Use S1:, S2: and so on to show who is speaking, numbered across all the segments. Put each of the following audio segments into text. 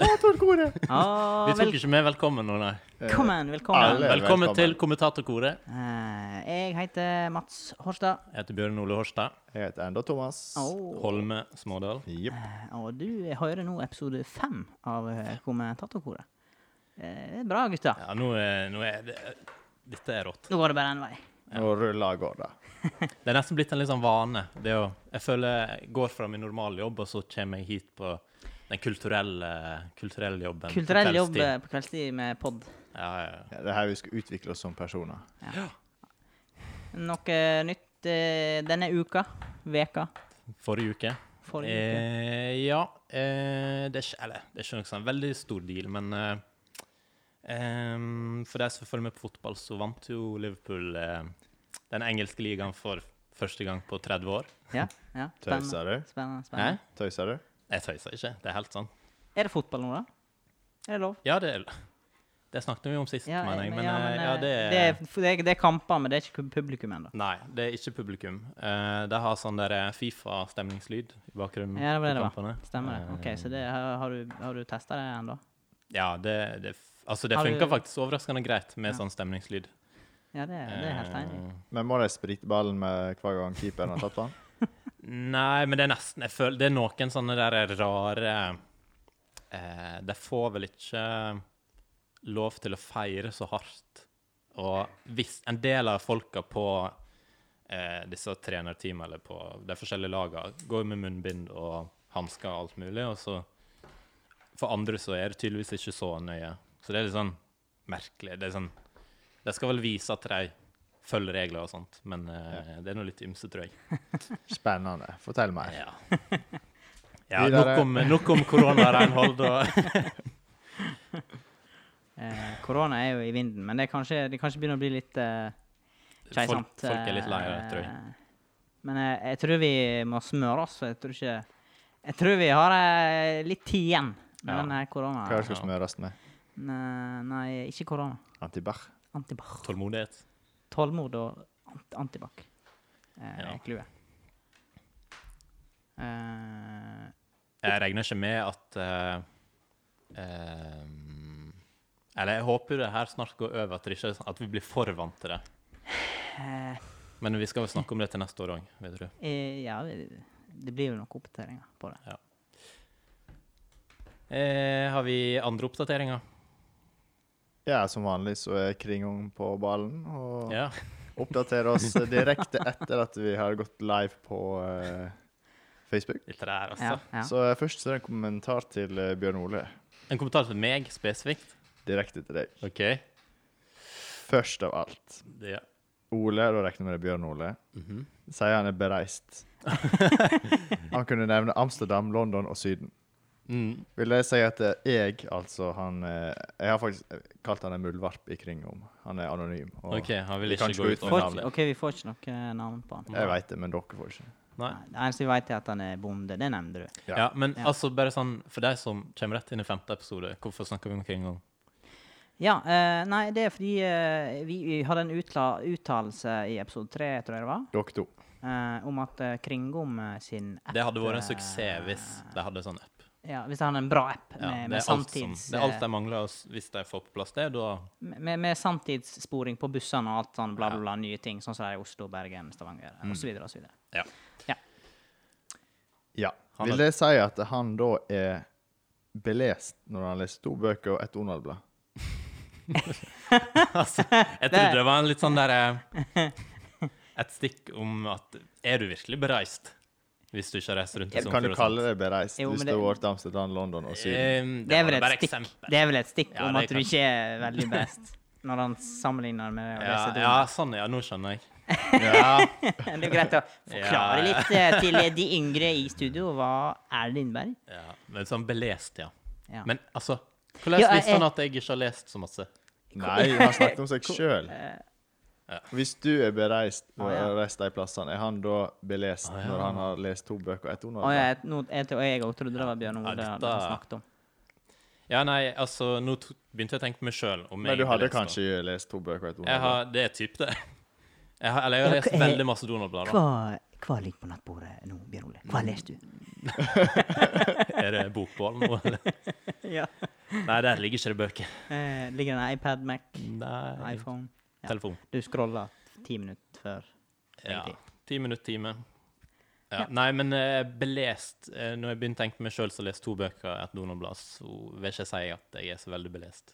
S1: kommentatorkoret!
S2: Å,
S3: Vi tok
S2: velkommen,
S3: ikke med 'velkommen' nå, nei.
S2: velkommen.
S1: Alle er
S3: Velkommen
S1: velkommen.
S3: til kommentatorkoret.
S2: Eh, jeg heter Mats Horstad.
S3: Jeg heter Bjørn Ole Horstad.
S1: Jeg heter enda Thomas.
S2: Og,
S3: Holme Smådal.
S1: Jepp.
S2: og du hører nå episode fem av eh, Kommentatorkoret. Eh, bra, gutter.
S3: Ja, nå er, nå er det, Dette er rått.
S2: Nå går det bare én vei.
S1: Nå ruller av gårde.
S3: Det er nesten blitt en litt sånn vane. Det å, jeg føler jeg går fra min normale jobb, og så kommer jeg hit på den kulturelle, kulturelle jobben. på
S2: Kulturell jobb
S3: kveldstid.
S2: eh, på kveldstid med pod.
S3: Ja, ja. ja.
S1: Ja, Det er her vi skal utvikle oss som personer.
S2: Noe nytt eh, denne uka? Veka?
S3: Forrige uke.
S2: Forrige uke?
S3: Eh, ja. Eh, det er ikke Eller, det er ikke noe sånn veldig stor deal, men eh, em, For de som følger med på fotball, så vant jo Liverpool eh, den engelske ligaen for første gang på 30 år.
S2: Ja, ja. Spennende.
S1: Tøyser du?
S2: spennende,
S3: Hæ?
S2: spennende.
S1: Tøyser du?
S3: Jeg tøyser ikke. Det er helt sant.
S2: Er det fotball nå, da? Er det lov?
S3: Ja, det, er- det snakket vi om sist,
S2: Ja,
S3: mener jeg. Men,
S2: ja,
S3: eh, ja,
S2: eh,
S3: det,
S2: det, er, for det, er, det er kamper, men det er ikke publikum ennå.
S3: Nei, det er ikke publikum. Eh, de har sånn der eh, Fifa-stemningslyd i bakgrunnen.
S2: Ja, det var det
S3: på
S2: det var.
S3: kampene.
S2: Stemmer det. Ok,
S3: Eh,
S2: Så det, har, har du, har du testa det ennå?
S3: Ja, det, det, f- altså, det
S2: Har du-
S3: funka faktisk overraskende greit med
S2: Ja.
S3: sånn stemningslyd.
S2: Ja, det, det er helt enig. i.
S3: Eh,
S1: Men må de sprite ballen med hver gang keeperen har tatt den?
S3: Eh, Nei, men det er nesten jeg føler, Det er noen sånne der rare eh, De får vel ikke lov til å feire så hardt. Og hvis en del av folka på eh, disse trenerteamene eller på de forskjellige lagene går med munnbind og hansker og alt mulig, og så For andre så er det tydeligvis ikke så nøye. Så det er litt sånn merkelig. Det er sånn De skal vel vise at de følger regler og sånt, men eh, det er nå litt ymse, tror jeg.
S1: Spennende. Fortell mer.
S3: Ja. ja
S1: Videre.
S3: nok om, nok om korona, Reinhold. Og,
S2: Eh, Korona er jo i vinden, men det, er kanskje, det kanskje begynner å bli litt eh,
S3: folk,
S2: keisant.
S3: folk er litt lei av det, tror jeg.
S2: eh, Men jeg, jeg tror vi må smøre oss. for Jeg tror, ikke, jeg tror vi har eh, litt tid igjen med
S3: Ja.
S2: denne korona.
S1: Hva er det skal smøres med?
S2: Nei, nei, ikke korona.
S1: Antibac?
S2: Antibac.
S3: Tålmodighet.
S2: Tålmod og ant antibac eh,
S3: Ja.
S2: er clouet. Eh,
S3: Jeg regner ikke med at eh, eh, Eller jeg håper jo det her snart går over, at, det ikke, er sånn at vi blir for vant til det.
S2: eh,
S3: Men vi skal jo snakke om det til neste år òg, vil jeg tro.
S2: eh, ja, det- det blir jo noen oppdateringer på det.
S3: Eh, har vi andre oppdateringer?
S1: Ja, som vanlig så er Kringong på ballen. Og
S3: Ja.
S1: oppdaterer oss direkte etter at vi har gått live på eh, Facebook.
S3: Litt der, altså.
S2: Ja, ja.
S1: Så eh, først så er det en kommentar til eh, Bjørn Ole.
S3: En kommentar til meg spesifikt.
S1: Direkte til deg.
S3: OK.
S1: Først av alt.
S3: Ja.
S1: Ole, da regner jeg med det er Bjørn Ole,
S3: Mhm.
S1: sier han er bereist. han kunne nevne Amsterdam, London og Syden.
S3: Mm.
S1: Vil jeg si at eh, jeg, altså han eh, Jeg har faktisk eh, kalt han en muldvarp i Kringom. Han er anonym. og
S3: OK, han
S1: Vi
S3: vil
S1: kan
S3: ikke gå
S1: ikke
S3: ut
S1: gå ut
S3: med
S2: Får
S1: navnet.
S2: ikke, OK, vi får ikke noe navn på han.
S1: Jeg veit det, men dere får ikke.
S3: Nei.
S2: Nei, Det eneste vi vet, er at han er bonde. Det nevnte du.
S1: Ja.
S3: Ja, men
S2: Ja.
S3: altså, bare sånn For de som kommer rett inn i femte episode, hvorfor snakker vi om Kringong?
S2: Ja, eh, Nei, det er fordi eh, vi, vi hadde en utla, uttalelse i episode tre, tror jeg det var,
S1: Dere to.
S2: eh, om at eh, Kringom eh, sin app
S3: Det hadde vært en
S2: eh,
S3: suksess hvis de hadde sånn app.
S2: Ja, Hvis han hadde en bra app
S3: Ja,
S2: med,
S3: det,
S2: med,
S3: er alt som,
S2: samtids,
S3: det er alt de mangler og s- hvis de får på plass det. Da
S2: eh, med, med samtidssporing på bussene og alt sånn bla,
S3: Ja. Mm.
S2: bla, bla, nye ting, sånn som det er i Oslo, Bergen, Stavanger eh, og så videre og så videre.
S3: ja.
S1: Ja.
S3: Han
S1: Vil
S3: er-
S1: det si at han da er belest når han leser to bøker og ett Donald-blad?
S3: altså, Jeg trodde det var en litt sånn derre Et stikk om at Er du virkelig bereist hvis du ikke har reist rundt i
S1: Du kan
S3: sommerferie
S1: jo
S3: og
S1: kalle
S3: sånt?
S1: det bereist
S2: Jo,
S1: hvis
S2: men
S1: du
S2: det-
S1: har vært i Amsterdam, London og Syden.
S3: Ehm,
S2: Det er
S3: var
S2: vel et
S3: bare
S2: stikk,
S3: eksempel.
S2: det er vel et stikk om
S3: Ja, det
S2: at du
S3: kan-
S2: ikke er veldig best, når han sammenligner med å
S3: Ja,
S2: lese
S3: ja,
S2: Donald.
S3: sånn, ja. Nå skjønner jeg. Ja,
S2: Det er jo greit å forklare
S3: Ja.
S2: litt eh, til de yngre i studio. Hva er Lindberg?
S3: ja. Men sånn belest, ja.
S2: Ja.
S3: Men altså Hvordan
S2: Ja, jeg-
S3: visste han at jeg ikke har lest så masse?
S1: Nei, han snakket om seg sjøl. Hvis du er bereist og
S2: Å, ja.
S1: har reist de plassene, er han da belest når han har lest to bøker og ett
S2: Å,
S1: Donald-blad?
S2: jeg, nå, jeg, tror- jeg også trodde det var Bjørn
S3: Ja,
S2: Ole han
S3: dette-
S2: snakket om.
S3: Ja, nei, altså, nå to- begynte jeg å tenke på meg sjøl.
S1: Men du hadde kanskje lest to bøker og ett
S3: Jeg
S1: Donald-blad?
S3: har, det er typ det. Jeg har, eller jeg har
S2: Ja,
S3: lest
S2: hva-
S3: veldig masse Donald-blader.
S2: Hva, hva ligger på nattbordet nå, Bjørn Ole? Hva leser du?
S3: Er det bokbål nå, eller?
S2: Ja.
S3: Nei, der ligger ikke det bøker.
S2: Eh, ligger det en iPad, Mac,
S3: Nei.
S2: iPhone Ja.
S3: Telefon.
S2: Du scroller ti minutter før.
S3: Ja.
S2: egentlig.
S3: Ti minutter, time. Ja.
S2: Ja.
S3: Nei, men eh, belest eh, Når jeg begynte å tenke på meg sjøl som har lest to bøker i et donorblad, så vil ikke jeg si at jeg er så veldig belest.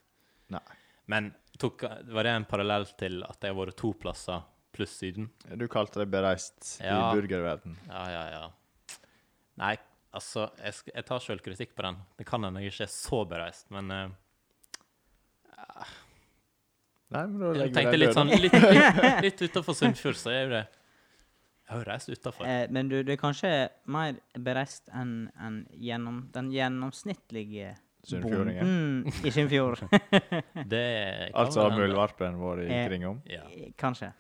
S1: Nei.
S3: Men tok, var det en parallell til at jeg har vært to plasser pluss Syden?
S1: Du kalte det bereist
S3: Ja.
S1: i burgerverden.
S3: Ja, ja, ja. Nei, altså, jeg, sk- jeg tar sjøl kritikk på den. Det kan hende jeg ikke er så bereist, men eh,
S1: Nei, men da
S3: jeg
S1: legger
S3: tenkte
S1: vi
S3: litt
S1: den
S3: sånn
S1: død.
S3: Litt, litt, litt utafor Sunnfjord, så er jo det Jeg har jo reist utafor.
S2: Eh, men du, du er kanskje mer bereist enn enn gjennom, den gjennomsnittlige
S1: Sunnfjordingen.
S2: bonden i Sunnfjord.
S3: Det kan
S1: Altså
S3: være
S1: har
S3: en-
S1: muldvarpen vår i
S2: Eh,
S1: kringom.
S3: Ja.
S2: Kanskje.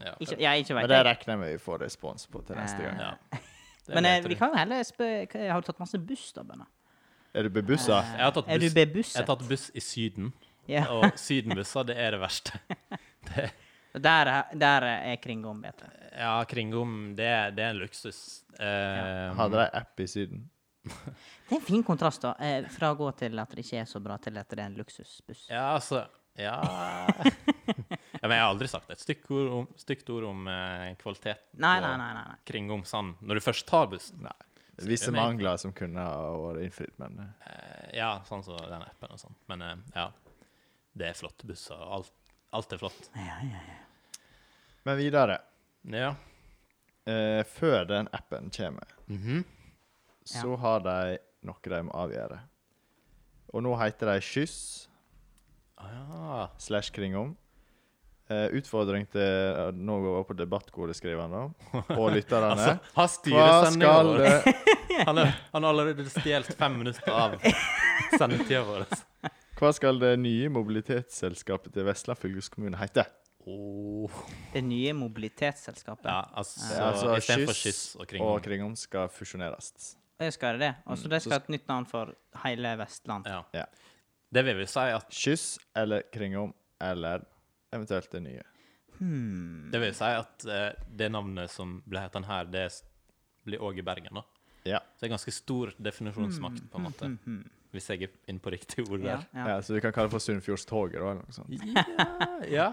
S3: ja.
S2: Ikke, ja, ikke
S1: Men
S2: vet
S1: det
S2: jeg.
S1: regner jeg med vi får respons på til neste gang.
S3: ja. Det
S2: Men
S3: vet
S2: eh, vi
S3: du.
S2: kan jo heller spørre hva- Har du tatt masse buss, da, Bønna?
S1: Er du bebussa?
S3: Jeg har tatt
S2: Er du
S3: buss,
S2: bebusset?
S3: jeg har tatt buss i Syden,
S2: Ja.
S3: og sydenbusser, det er det verste.
S2: Der, er- der eh, er kringgående bedre.
S3: Ja, Kringom, det, er- det er en luksus. Eh,
S1: Hadde de app i Syden?
S2: Det er en fin kontrast, da. Eh, fra å gå til at det ikke er så bra, til at det er en luksusbuss.
S3: Ja, altså Ja. ja men jeg har aldri sagt et stygt ord om, stygt ord om eh, kvalitet
S2: Nei, nei, nei. nei, nei.
S3: Kringom Sand når du først tar bussen.
S1: Nei. Visse mangler som kunne ha vært innfridd, men eh,
S3: Eh, ja, sånn som den appen og sånn. Men eh, ja, det er flotte busser. og Alt, alt er flott.
S1: Men videre.
S3: Ja.
S1: Eh, før den appen kommer,
S3: Mhm.
S1: så har de noe de må avgjøre. Og nå heter de Skyss
S3: ah,
S1: slash Kringom. Eh, utfordring til eh, Nå går vi over på debattkodet, skriver han da. Og lytterne.
S3: altså, har
S1: Hva
S3: styresendinga
S1: skal
S3: vår
S1: det
S3: Han er- han har allerede stjålet fem minutter av sendetida vår.
S1: Hva skal det nye mobilitetsselskapet til Vestland fylkeskommune hete?
S3: Oh.
S2: Det nye mobilitetsselskapet.
S3: Ja, altså,
S1: Det er altså
S3: Istedenfor kyss og kringom.
S1: og Kringom skal fusjoneres.
S2: Jeg skal det. Og så det skal et nytt navn for hele Vestland.
S3: Mm. Ja.
S1: Ja.
S3: Det vil vi si at
S1: Kyss eller Kringom eller eventuelt det nye.
S2: Hmm.
S3: Det vil si at eh, det navnet som ble heten her, det s- blir òg i Bergen, da.
S1: Ja.
S3: Så det er ganske stor definisjonsmakt, på en måte. Hvis jeg er inne på riktig ord
S2: Ja,
S3: der.
S1: Ja.
S2: ja.
S1: eh, så vi kan kalle det for Sunnfjordstoget, da, eller noe sånt.
S3: Ja, ja.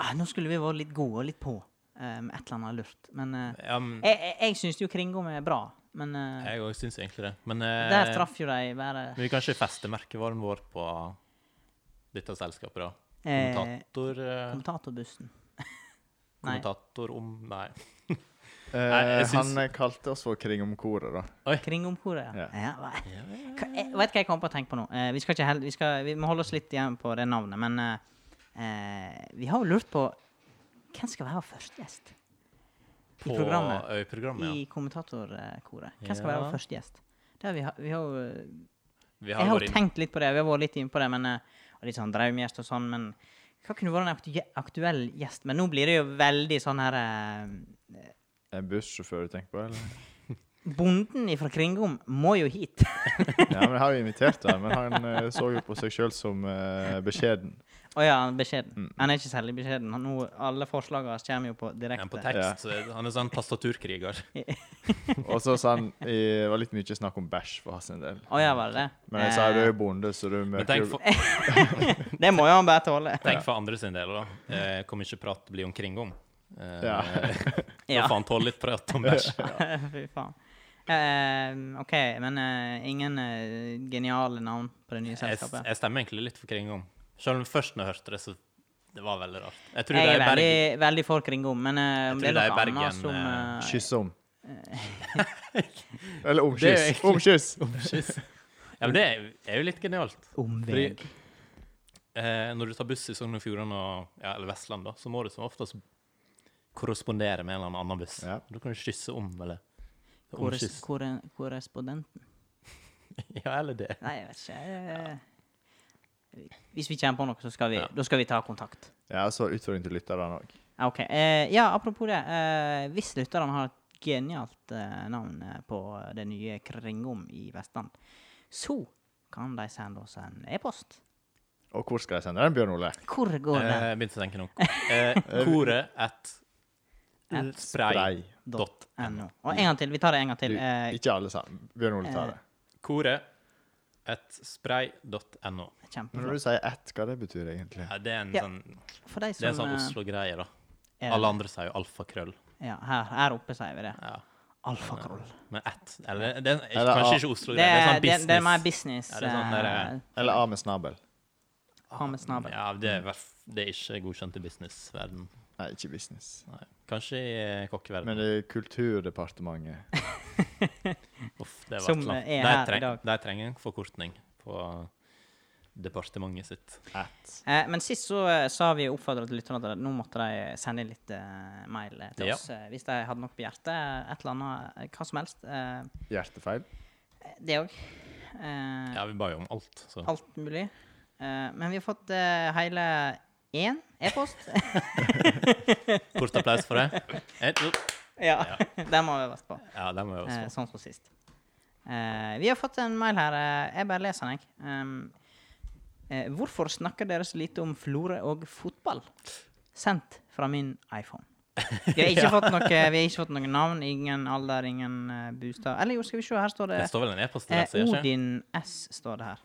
S2: Ah, nå skulle vi vært litt gode og litt på eh, med et eller annet lurt. Men eh,
S3: ja men,
S2: jeg, jeg, jeg syns jo Kringom er bra. Men eh,
S3: jeg òg syns egentlig det. Men, eh,
S2: der traff jo de bare
S3: men vi kan ikke feste merkevaren vår på dette selskapet, da.
S2: eh,
S3: Kommentator eh,
S2: kommentatorbussen. Nei,
S3: Kommentator om Nei.
S1: Eh,
S3: jeg syns-
S1: Han kalte oss for Kringomkoret, da.
S2: Kringomkoret, ja.
S1: Ja.
S2: ja. hva- Hva, jeg, vet du hva jeg kom på å tenke på nå? Eh, vi, skal ikke hel, vi, skal, vi må holde oss litt igjen på det navnet, men eh, eh, vi har jo lurt på hvem skal være første gjest
S3: På
S2: i programmet?
S3: øyprogrammet,
S2: I
S3: ja.
S2: kommentatorkoret. Hvem skal være
S3: Ja.
S2: vår første gjest? Det har vi, ha- vi har, jo- eh,
S3: Vi
S2: jeg har
S3: vært
S2: jo
S3: inn-
S2: tenkt litt på det, vi har vært litt inne på det, men, eh, og litt sånn drømmegjest og sånn, men hva kunne vært en aktu aktuell gjest? Men nå blir det jo veldig sånn her eh,
S1: En bussjåfør du tenker på, eller?
S2: Bonden ifra Kringom må jo hit.
S1: Ja, men Jeg har jo invitert han, men han eh, så jo på seg sjøl som eh, beskjeden.
S2: Å ja, han er beskjeden.
S3: Mm.
S2: Han er ikke særlig beskjeden. Han, nå, alle forslagene kommer jo på
S3: Ja, på
S2: direkte.
S3: tekst. så Han er sånn tastaturkriger.
S1: Og så sa han eh, Det var litt mye snakk om bæsj for hans del.
S2: Å ja, var det det?
S1: Men jeg sa du
S2: Eh,
S1: er jo bonde, så du
S3: Men
S1: møter
S3: tenk
S1: jo
S3: for,
S2: Det må jo han bare tåle.
S3: tenk for andre sin del, da. Eh, hvor mye prat det blir omkring om. Eh,
S1: Ja.
S3: Da
S2: Ja.
S3: får han tåle litt prat om bæsj.
S2: Fy faen. Eh, OK, men eh, ingen eh, geniale navn på det nye
S3: Jeg,
S2: selskapet?
S3: jeg stemmer egentlig litt for kringom. Selv om først når jeg hørte det, så det var veldig rart. Jeg tror
S2: Jeg er
S3: det er
S2: veldig,
S3: Bergen.
S2: veldig for Kringom, men eh, om det er noe
S3: Jeg tror det er Bergen,
S2: annet som
S3: eh,
S2: eh,
S1: Kyss om. Eller om
S3: Det er jo
S1: kyss.
S3: egentlig-
S1: Om kyss!
S3: Ja, men det er- er jo litt genialt.
S2: Omveg.
S3: Fordi- Eh, når du tar buss i Sogn og Fjordane og- ja, eller Vestland, da, så må du som oftest korrespondere med en eller annen buss.
S1: Ja.
S3: Da kan du kysse om, eller om
S2: Korres,
S3: kyss.
S2: korre, korrespondenten
S3: Ja, eller det.
S2: Nei, jeg vet ikke. eh, Hvis vi kommer på noe, så skal vi, da skal vi ta kontakt.
S1: Ja, og så utfordring til lytterne òg.
S2: Ja, OK. Eh, ja, apropos det. eh, hvis lytterne har et genialt eh, navn eh, på det nye Kringom i Vestland, så kan de sende oss en e-post.
S1: Og hvor skal jeg sende den, Bjørn Ole?
S2: Hvor går det?
S3: Eh, Jeg begynte å tenke noe. Eh, koret at
S2: At
S3: spray.
S2: Dot .no. Og en gang til. Vi tar det en gang
S1: Du,
S2: til. Eh,
S1: ikke alle sammen. Bjørn Ole tar det.
S3: Koret Ettspray.no.
S1: Men når
S2: Kjempeflott.
S1: du sier ett, hva det betyr egentlig?
S3: Ja, det er en
S2: Ja,
S3: sånn,
S2: For de
S3: det er en
S2: som
S3: sånn
S2: eh,
S3: Oslo-greie, da.
S2: er-
S3: Alle andre sier jo alfakrøll.
S2: Ja, her, her oppe sier vi det.
S3: Ja.
S2: Alfakrøll.
S3: Men ett Eller det er ikke-
S1: Eller,
S3: kanskje
S1: ah,
S3: ikke
S2: Det,
S3: Oslo-greie. Det er
S2: er-
S3: sånn
S2: det,
S3: business.
S2: det er mer business.
S3: Ja, det er sånn der,
S2: eh,
S1: Eller A med snabel?
S2: ha med snabel. Mm.
S3: Ja, det er, i hvert f- det er ikke godkjent i businessverden.
S1: Nei, ikke business.
S3: Nei. Kanskje i eh, kokkeverden.
S1: Men det er Kulturdepartementet.
S3: Uff, det var
S2: Som
S3: et eller annet.
S2: er
S3: De
S2: her i
S3: treng-
S2: dag.
S3: De trenger en forkortning på departementet sitt.
S1: At.
S2: Eh, men sist så eh, sa vi oppfordra til lytterne at nå måtte de sende inn litt eh, mail eh, til
S3: Ja.
S2: oss eh, hvis de hadde noe på hjertet. eh, Et eller annet. eh, Hva som helst. Eh,
S1: Hjertefeil.
S2: det òg. Eh,
S3: Ja, vi ba jo om alt, så
S2: Alt mulig. Eh, men vi har fått eh, hele én e-post.
S3: kort applaus for det. Et-
S2: ja. Den må vi vært på.
S3: Ja, det må jeg
S2: Eh,
S3: også få.
S2: sånn som sist. Eh, vi har fått en mail her. eh, jeg bare leser den, jeg. Um, eh, hvorfor snakker dere så lite om Florø og fotball? Sendt fra min iPhone. Vi har ikke, fått, noe, vi har ikke fått noe navn, ingen alder, ingen uh, bostad Eller jo, skal vi se, her står det
S3: Det står vel en e-post til
S2: eh,
S3: deg, sier jeg Hmm. ikke?
S2: Odin S. står det her.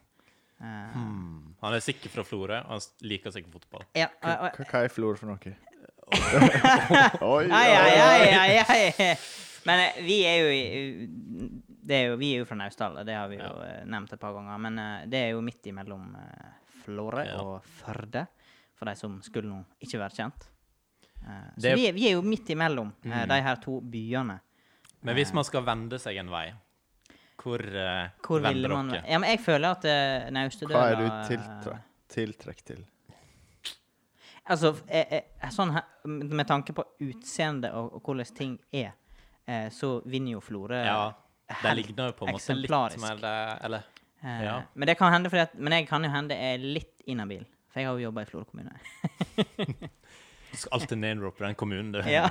S2: Eh,
S3: Mm. Han er sikkert fra Florø, og han s- liker sikkert fotball.
S2: ja, og- og-
S1: Hva, hva er flor for noe? Oi,
S2: Ai,
S1: oi,
S2: ai,
S1: oi.
S2: ai, ai, ai. Men eh, vi er jo, i- det er jo Vi er jo fra Naustdal, og det har vi jo eh, nevnt et par ganger. Men eh, det er jo midt imellom eh, Florø
S3: Ja.
S2: og Førde, for de som skulle nå ikke være kjent. Eh, Så
S3: Det er- Mm.
S2: vi, er, vi er jo midt imellom eh, de her to byene.
S3: Men hvis man skal vende seg en vei, hvor, eh,
S2: Hvor ville
S3: vender
S2: man
S3: dere?
S2: Ja, men jeg føler at eh, Naustdøla
S1: Hva er du
S2: eh,
S1: tiltre tiltrekt til?
S2: Altså, f- eh, eh, sånn her, med tanke på utseende og, og hvordan ting er, eh, så vinner jo Florø
S3: Ja, de
S2: helt
S3: ligner jo på en måte litt
S2: eksemplarisk.
S3: mer det, Eller
S2: Eh,
S3: Ja.
S2: Men det kan hende fordi at, men jeg kan jo hende jeg er litt inhabil. For jeg har jo jobba i Florø kommune.
S3: Du skal alltid name-rope den kommunen, du.
S2: Ja.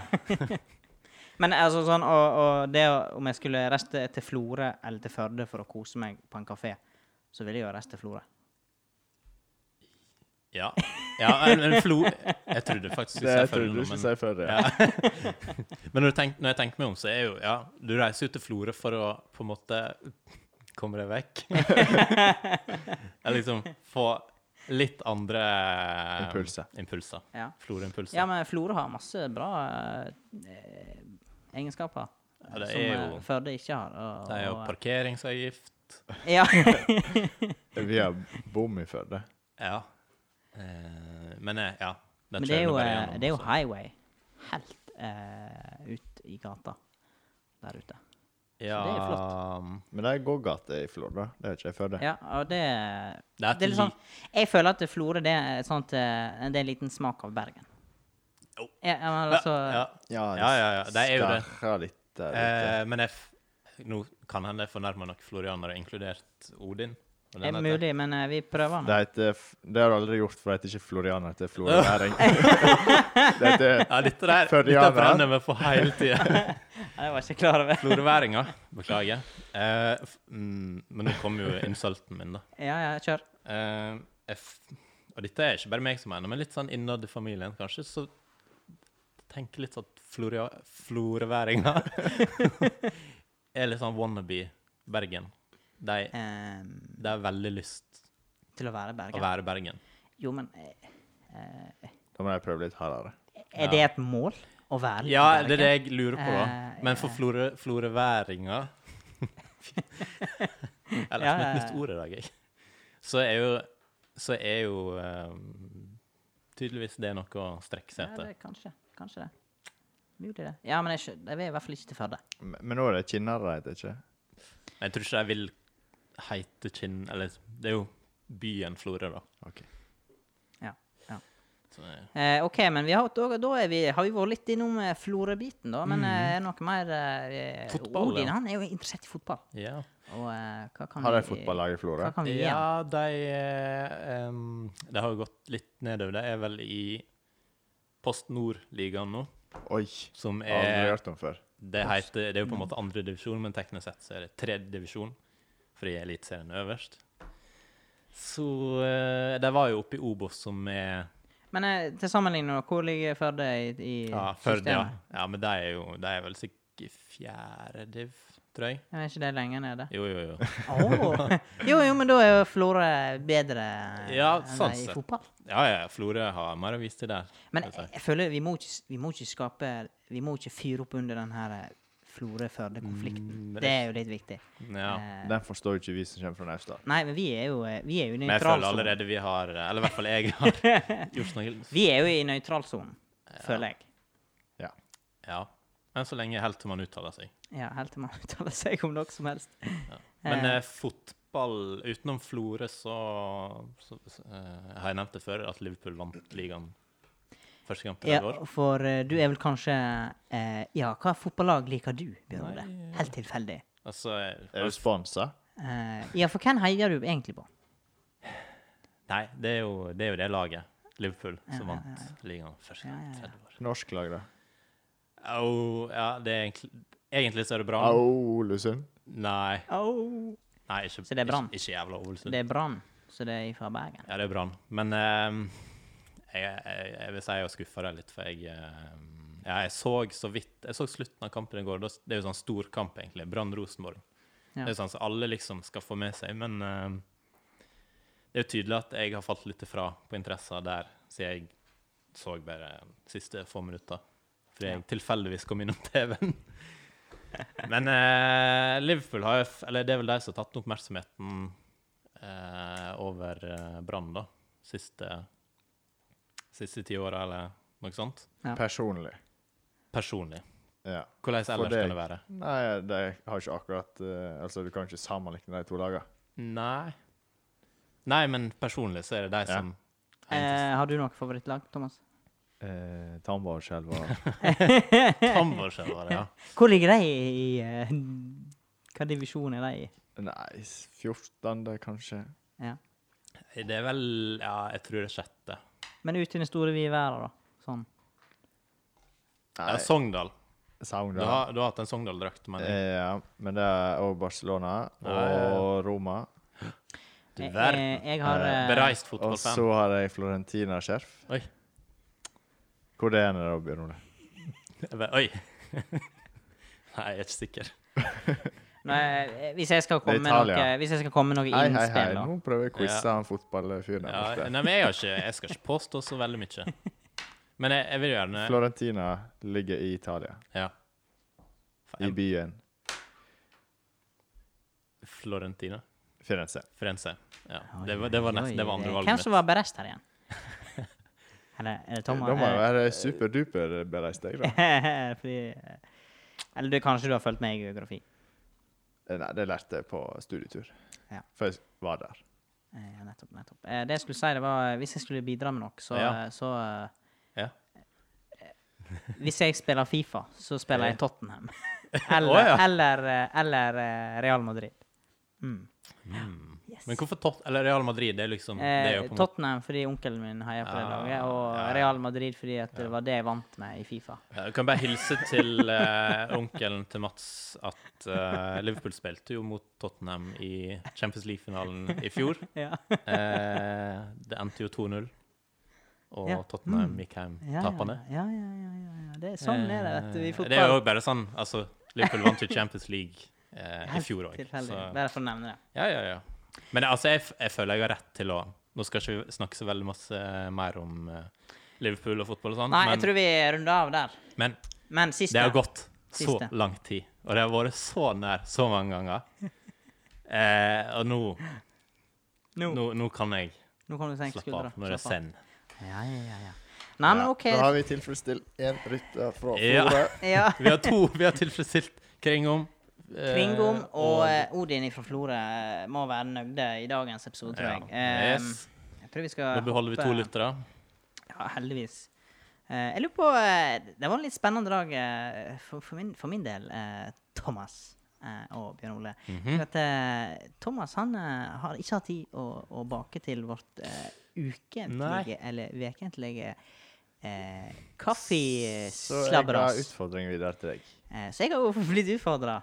S2: men altså sånn, og, og det å- om jeg skulle reiste til Florø eller til Førde for å kose meg på en kafé, så ville jeg jo reist til Florø.
S3: Ja, ja en, en flo... Jeg trodde faktisk du
S1: Det
S3: sa
S1: trodde
S3: Førde
S1: du
S3: nå,
S1: ikke
S3: men
S1: sier før. Ja.
S3: Ja. Men når, du tenk, når jeg tenker meg om, så er jo Ja, du reiser jo til Florø for å på en måte komme deg vekk. Eller liksom få litt andre eh,
S1: Impulser.
S3: impulser.
S2: Ja.
S3: Florø-impulser.
S2: ja, men Florø har masse bra eh, egenskaper.
S3: Ja, det
S2: som
S3: er
S2: eh,
S3: jo-
S2: Førde ikke har. Og,
S3: det er jo
S2: og-
S3: parkeringsavgift.
S2: Ja.
S1: Vi har bom i Førde.
S3: Ja. Eh, men eh, ja. den
S2: Men det er
S3: kjører
S2: jo,
S3: du
S2: eh,
S3: bare gjennom, altså.
S2: det er jo
S3: så-
S2: highway helt eh, ut i gata der ute.
S3: ja,
S2: det er
S1: Men det er gågate i Flor, da. Det er ikke i Førde.
S2: Ja, og det
S3: Det er,
S2: Det er litt sånn, jeg føler at Florø det er, et sånt, eh, det er en liten smak av Bergen.
S3: Jo.
S2: Ja, ja, men
S3: ja,
S2: altså,
S3: ja.
S1: Ja,
S3: ja, ja, ja. Det er jo det.
S1: skarrer litt der ute.
S3: Eh, men jeg f nå kan hende jeg fornærmer nok florianere, inkludert Odin.
S2: det
S3: og
S2: er
S3: den heter.
S2: mulig, men eh, vi prøver nå.
S1: Det, heter, f- det har du aldri gjort, for det heter ikke Floriana, det heter Floriværing. det heter
S3: Ja, dette der dette
S1: Førdianer.
S3: brenner vi på hele tida.
S2: Jeg var ikke klar over
S3: Florøværinga. Beklager. Eh, f- mm, men nå kom jo insulten min, da.
S2: Ja, ja, kjør.
S3: Eh, jeg f og dette er ikke bare meg som mener, men litt sånn innad i familien, kanskje, så tenker litt sånn at floria- florøværinga er litt sånn wannabe Bergen. De,
S2: Ehm,
S3: de har veldig lyst
S2: til å være
S3: å
S2: Bergen.
S3: være Bergen.
S2: Jo, men eh, eh,
S1: Da må jeg prøve litt hardere.
S2: Er det et mål? Å være
S3: Ja,
S2: Bergen?
S3: det er det jeg lurer på. da.
S2: Eh,
S3: Men for
S2: ja.
S3: flore- floreværinga Eller
S2: Ja,
S3: som et
S2: ja,
S3: nytt
S2: ja.
S3: ord i dag, jeg. Så er jo, så er jo ehm, tydeligvis det noe å strekke seg
S2: Ja,
S3: etter.
S2: det er kanskje. Kanskje det. Mulig, det. Ja, men jeg, skjø- jeg vil i hvert fall ikke til Førde.
S1: Men men nå er det Kinnarre det heter, ikke?
S3: Jeg tror ikke de vil heite Kinn Eller det er jo byen Florø, da.
S1: Ok.
S2: Ja, ja.
S3: Så, det-
S2: Eh, OK, men vi har, da, da er vi, har vi vært litt innom eh, Florø-biten, da. Men eh, er det noe mer eh,
S3: Mm. Fotball,
S2: Odin
S3: ja.
S2: han er jo interessert i fotball.
S3: ja.
S2: Og eh, hva kan
S1: Har de
S2: vi-
S1: fotballag i Florø?
S2: Hva kan vi gjøre?
S3: ja, de eh, ehm, Det har jo gått litt nedover. De er vel i Post Nord-ligaen nå,
S1: Oi,
S3: som
S1: har aldri
S3: er
S1: hørt om før.
S3: Det, heter, det er jo på en måte andre divisjon, men teknisk sett så er det tredje divisjon, fordi Eliteserien er øverst. Så eh, de var jo oppe i Obos, som er
S2: Men eh, til sammenligning, nå, hvor ligger Førde i, i
S3: ja, Førde. Ja.
S2: systemet?
S3: ja, men de er jo de er vel sikkert i fjerde div. tror jeg.
S2: Er ikke det lenger nede?
S3: Jo, jo, jo.
S2: Åh. jo, jo, men da er jo Florø bedre eh,
S3: Ja,
S2: enn
S3: sånn
S2: de i
S3: sett.
S2: fotball.
S3: Ja, ja, Florø har mer å vise til der.
S2: Men
S3: vil jeg
S2: jeg,
S3: si.
S2: jeg føler vi må, ikke, s- vi må ikke skape Vi må ikke fyre opp under den her eh, Florø-Førde-konflikten.
S3: Mm, men
S2: Det er jo litt viktig.
S3: ja.
S2: Eh,
S1: Den forstår jo ikke vi som kommer fra Naustdal.
S2: nei, men vi er jo, eh, vi er jo i
S3: Men jeg
S2: nøytralsonen.
S3: føler allerede vi har Eller i hvert fall jeg har gjort noe
S2: Vi er jo i nøytralsonen, føler jeg.
S1: Ja.
S3: Ja. Enn så lenge helt til man uttaler seg.
S2: Ja, helt til man uttaler seg om noe som helst.
S3: Men
S2: Eh.
S3: eh, fotball utenom Florø, så, så eh, har jeg nevnt det før, at Liverpool vant ligaen første kamp i
S2: Ja,
S3: år.
S2: for eh, du er vel kanskje eh, Ja, hva fotballag liker du, Bjørn Ole?
S3: Nei,
S2: Helt tilfeldig.
S3: Altså,
S1: Er du sponsa?
S2: Eh, ja, for hvem heier du egentlig på?
S3: nei, det er, jo, det er jo det laget, Liverpool, som vant ligaen første gang i 30 år.
S1: Norsk lag, da?
S3: Au, ja, det er egentlig, egentlig så er det bra.
S1: Au, Ålesund?
S3: Nei,
S2: Au.
S3: nei ikke,
S2: Så det er Brann?
S3: Ikke, ikke jævla Ålesund.
S2: Det er Brann, så det er fra Bergen.
S3: Ja, det er Brann. Men ehm, jeg, jeg, jeg vil si jeg skuffa deg litt, for jeg ehm, ja, jeg så så vidt Jeg så slutten av kampen i går. da s- Det er jo sånn storkamp, egentlig. Brann-Rosenborg.
S2: Ja.
S3: Det er sånn som alle liksom skal få med seg. Men ehm, det er jo tydelig at jeg har falt litt ifra på interesser der, siden jeg så bare siste få minutter. Fordi jeg tilfeldigvis kom innom TV-en. Men eh, Liverpool har jo f- Eller det er vel de som har tatt oppmerksomheten eh, over eh, Brann, da. Siste, siste ti åra, eller noe sånt.
S2: Ja.
S1: Personlig.
S3: Personlig.
S1: Ja.
S3: Hvordan
S1: For
S3: ellers
S1: deg.
S3: kan det være?
S1: Nei, de har ikke akkurat eh, Altså, du kan ikke sammenligne de to lagene.
S3: Nei Nei, men personlig så er det de
S1: Ja.
S3: som
S2: Eh, har du noe favorittlag, Thomas?
S1: Eh, Tambarskjelva
S2: Eh.
S3: Tamborskjellere, ja.
S2: Hvor ligger de i eh, Hva divisjon er de i?
S1: Nei, 14., kanskje.
S2: Ja.
S3: Det er vel Ja, jeg tror det er sjette.
S2: Men ut i den store vide verden, da. Sånn.
S1: Nei,
S3: Ja, Sogndal. Du
S1: Sogndal.
S3: har, du har hatt en Sogndal-drakt, men
S1: Eh, Ja, men det er òg Barcelona
S3: Ja, ja, ja.
S1: og Roma.
S3: Du
S2: Jeg, jeg,
S3: verden.
S2: jeg har eh,
S3: Bereist
S1: Og
S3: fotballfan.
S1: så har jeg Florentina-skjerf.
S3: Oi.
S1: Hvor det er det da, Bjørn Ole?
S3: Oi. Nei, jeg er ikke sikker.
S2: nei, eh, Hvis jeg skal komme med
S1: Italia.
S2: noe, hvis jeg skal komme med noe
S1: Hei, hei, hei.
S2: innspill, da.
S1: Nå prøver jeg å quize
S3: Ja.
S1: han fotballfyren der
S3: Ja,
S1: borte.
S3: nei, men jeg, har ikke, jeg skal ikke påstå så veldig mye. Men jeg, jeg vil gjerne
S1: Florentina ligger i Italia,
S3: ja.
S1: i byen
S3: Florentina.
S1: Firenze.
S3: Firenze. Ja. Det var, det var, nest, det var andre
S2: Hvem
S3: valget
S2: som
S3: mitt.
S2: var berest her igjen? Er det, er det
S1: Da
S2: Thomas?
S1: må jeg være superduper bereist, jeg, da.
S2: Eh, Fordi eh, Eller du, kanskje du har fulgt med i geografi.
S1: Eh, Nei, det lærte jeg på studietur.
S2: Ja.
S1: For jeg var der.
S2: Eh, Ja, nettopp, nettopp. Eh, Det jeg skulle si, det var eh, Hvis jeg skulle bidra med noe, så,
S3: Ja.
S2: eh, så eh,
S3: Ja.
S2: Hvis jeg spiller Fifa, så spiller jeg Tottenham. Eller,
S3: Å, ja.
S2: eller, eh, eller eh, Real Madrid. Mm. Yes.
S3: Men hvorfor Tot eller Real Madrid? Det er liksom det er
S2: Eh,
S3: jo på en måte,
S2: Tottenham fordi onkelen min heier på det
S3: Ja,
S2: laget, og
S3: ja.
S2: Real Madrid fordi at det var det jeg vant med i Fifa.
S3: Ja, Jeg kan bare hilse til eh, onkelen til Mats at eh, Liverpool spilte jo mot Tottenham i Champions League-finalen i fjor.
S2: Ja.
S3: Eh, det endte jo 2-0, og
S2: Ja. Mm.
S3: Tottenham gikk hjem
S2: Ja,
S3: tapende.
S2: Ja, ja, ja, ja, ja, ja. Det er sånn er det, vet du. I
S3: Eh,
S2: fotball.
S3: Det er jo bare sånn. Altså, Liverpool vant jo Champions League eh, i
S2: Helt
S3: fjor òg.
S2: Tilfeldig. Bare for å nevne det.
S3: Ja, ja, ja. Men altså, jeg, f- jeg føler jeg har rett til å Nå skal ikke vi snakke så veldig masse mer om eh, Liverpool og fotball og sånn,
S2: Nei, jeg
S3: men,
S2: tror vi runder av der.
S3: men
S2: Men siste
S3: det har gått så
S2: Siste.
S3: lang tid. Og det har vært så nær så mange ganger. Eh, og nå,
S2: Nå, nå,
S3: nå, nå kan jeg
S2: kan du senke
S3: slappe
S2: skuldra.
S3: av når det er
S2: Slapp av.
S3: send.
S2: Ja, ja, ja, ja. Nei, Ah, men
S1: Ja.
S2: OK.
S1: Da har vi tilfredsstilt én rytter fra
S3: Ja.
S1: Florø.
S2: Ja.
S3: Vi har to vi har tilfredsstilt Kringom. eh,
S2: Kringom og eh, Odin fra Florø eh, må være nøgde i dagens episode, tror
S3: ja.
S2: jeg. Eh,
S3: yes.
S2: Jeg tror vi skal
S3: Da beholder vi to
S2: hoppe-
S3: lyttere.
S2: Ja, heldigvis. Eh, jeg lurer på eh, Det var en litt spennende dag eh, for, for, min, for min del, eh, Thomas eh, og Bjørn Ole.
S1: Mhm.
S2: For at, eh, Thomas han eh, har ikke hatt tid å, å bake til vårt eh, ukentlige eller vekentlige eh,
S1: Så jeg ga
S2: kaffeslabberas.
S1: utfordringen videre til deg.
S2: Eh, så jeg har jo blitt utfordra.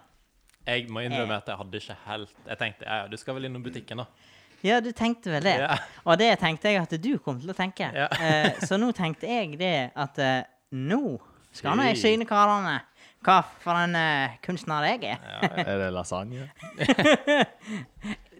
S3: Jeg må innrømme at jeg hadde ikke helt Jeg tenkte ja, ja, du skal vel innom butikken, da.
S2: Ja, du tenkte vel det.
S3: Ja.
S2: Og det tenkte jeg at du kom til å tenke.
S3: Ja.
S2: Eh, så nå tenkte jeg det at eh, nå skal nå jeg
S3: Fy.
S2: syne karene Hva for en eh, kunstner jeg er.
S1: Er det lasagne?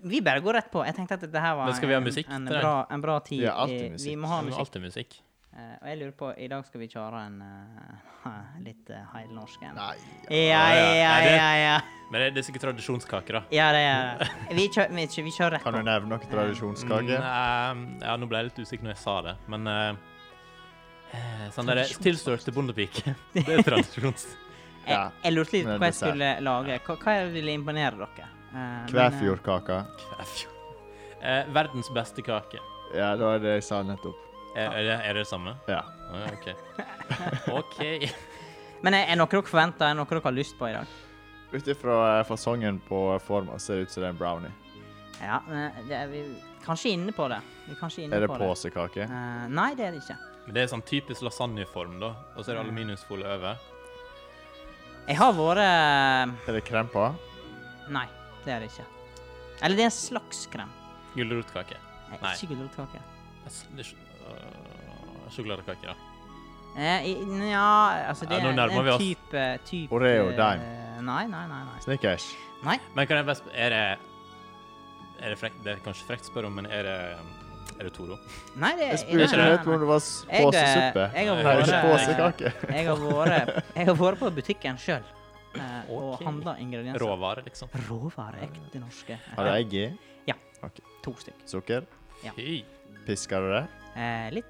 S2: Vi bare går rett på. Jeg tenkte at dette her var
S3: Men skal vi ha
S2: en-
S3: musikk
S2: en,
S3: til det?
S2: bra, en bra tid.
S1: Ja, alltid
S2: I- Vi
S1: musikk.
S2: må ha
S3: Det er
S2: musikk.
S3: Alltid musikk.
S2: Eh, og jeg lurer på, i dag skal vi kjøre en eh, litt uh, heilnorsk en.
S1: Nei.
S2: Ja, ja,
S3: Er det-
S2: ja, ja.
S3: Men det, det er sikkert tradisjonskake, da.
S2: Ja, det er det. Vi kjører, vi kjører, vi kjører rett
S1: Kan du
S2: på.
S1: nevne noe tradisjonskake?
S3: Mm, eh, ja, nå ble jeg litt usikker når jeg sa det, men eh, eh, Sånn derre tilstørte bondepike. Det er tradisjons...
S1: Ja.
S2: Jeg, jeg lurte litt på
S1: Med
S2: hva jeg
S1: dessert.
S2: skulle lage. Hva, hva jeg ville imponere dere? Eh, men, eh,
S1: Kvæfjordkaka.
S3: Eh, verdens beste kake.
S1: Ja, det var det jeg sa nettopp.
S3: Er, er, det, er det det samme?
S1: Ja.
S3: Å, ja, OK. OK.
S2: Men er, er noe dere forventer? Er noe dere har lyst på i dag?
S1: Ut ifra eh, fasongen på forma ser det ut som det er en brownie.
S2: Ja, men eh, det er vi kanskje inne på det. Vi er kanskje inne
S1: Er det
S2: på det.
S1: påsekake?
S2: Eh, nei, det er det ikke.
S3: Men det er sånn typisk lasagneform, da. Og så er det aluminiumsfolie over.
S2: Jeg har vært eh,
S1: Er det krem på?
S2: Nei, det er det ikke. Eller det er en slags krem.
S3: Gulrotkake.
S2: Eh,
S3: Nei.
S2: Ikke gulrotkake.
S3: S- det er sj- øh, Sjokoladekake, da.
S2: Eh, i- Nja, altså det
S3: Ja,
S2: er
S3: nå
S2: en-
S3: nærmer vi
S2: en
S3: oss.
S2: type, type
S1: Oreo, dime.
S2: eh, Nei, nei, nei. nei.
S1: Snickers?
S2: nei.
S3: Men kan jeg bare sp- Er det Er det frekt Det er kanskje frekt å spørre om, men er det Er det Toro?
S2: nei det,
S1: Jeg
S2: nei,
S1: spurte
S2: nei,
S1: rett om
S2: nei.
S1: det var
S2: Jeg, eh,
S1: påsesuppe.
S2: jeg har
S1: Nei,
S3: vært-
S1: ikke påsekake.
S2: Jeg har vært Jeg har vært på butikken sjøl eh, og
S3: Ok.
S2: handla ingredienser.
S3: Råvare, liksom?
S2: Råvarer. Ekte norske. Eh,
S1: Har du egg i?
S2: To stykker.
S1: Sukker?
S3: Hei.
S1: Pisker du det?
S2: Eh, litt.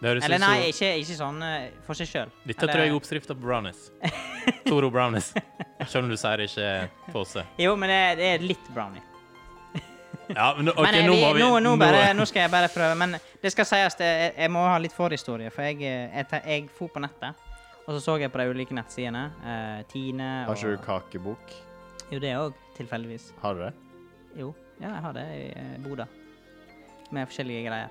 S3: Det høres
S2: Eller
S3: ut
S2: nei,
S3: som
S2: ikke, ikke sånn eh, for seg sjøl.
S3: Dette tror jeg er oppskrifta på brownies. Toro brownies. Selv om du sier det ikke er pose.
S2: Jo, men det, det er litt brownie.
S3: Ja, men nå- ok,
S2: men eh,
S3: nå
S2: vi,
S3: må vi
S2: nå, nå, bare, nå skal jeg bare prøve. Men det skal sies, det, jeg, jeg må ha litt forhistorie. For jeg, eh, jeg, te- jeg for på nettet, og så så jeg på de ulike nettsidene. eh, Tine og
S1: Har ikke du kakebok?
S2: Jo, det òg, tilfeldigvis.
S1: Har du det?
S2: Jo, ja, jeg har det i eh, boda. Med forskjellige greier.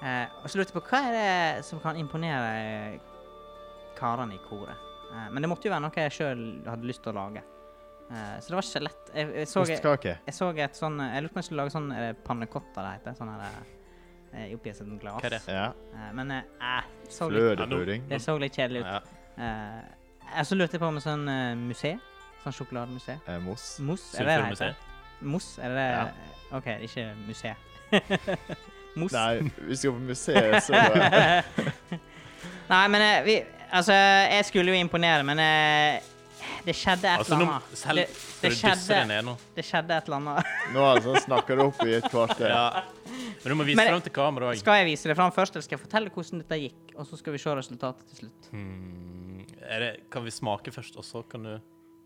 S2: Eh, og så lurte jeg på hva er det som kan imponere eh, karene i koret? Eh, men det måtte jo være noe jeg sjøl hadde lyst til å lage. Eh, så det var ikke så lett. Jeg, jeg så
S1: Ostekake?
S2: Jeg så et sånn Jeg lurer på om jeg skulle lage sånn eh, pannekotta det heter. Sånn her eh, oppi et sånt glass.
S3: Hva er det?
S1: Ja.
S2: Eh, Men eh, eh, så litt,
S1: Flødepudding?
S2: det så litt kjedelig ut.
S3: Ja.
S2: Eh, eh, så lurte jeg på om et sånn eh, museum. Sånn sjokolademuseum.
S1: Eh, Mos?
S2: Mos, er det det
S3: Sylfurmuseet?
S2: heter? Mos, er det
S1: Ja.
S2: OK, ikke museet. Mos. Nei,
S1: Nei, vi skal på museet, så eh,
S2: men eh, vi Altså, jeg skulle jo imponere, men eh, det skjedde et
S3: Altså,
S2: eller
S3: nå
S2: annet.
S3: selv,
S2: det, det,
S3: Skal du dysse det
S2: skjedde,
S3: ned nå?
S2: det skjedde et eller annet.
S1: Nå altså, snakker du opp i et kvarter.
S3: Ja. Men du må vise
S2: Men-
S3: fram til kamera òg.
S2: Skal jeg vise det fram først, eller skal jeg fortelle hvordan dette gikk? Og så skal vi se resultatet til slutt.
S1: Mm.
S3: Hmm, Kan vi smake først, og så kan du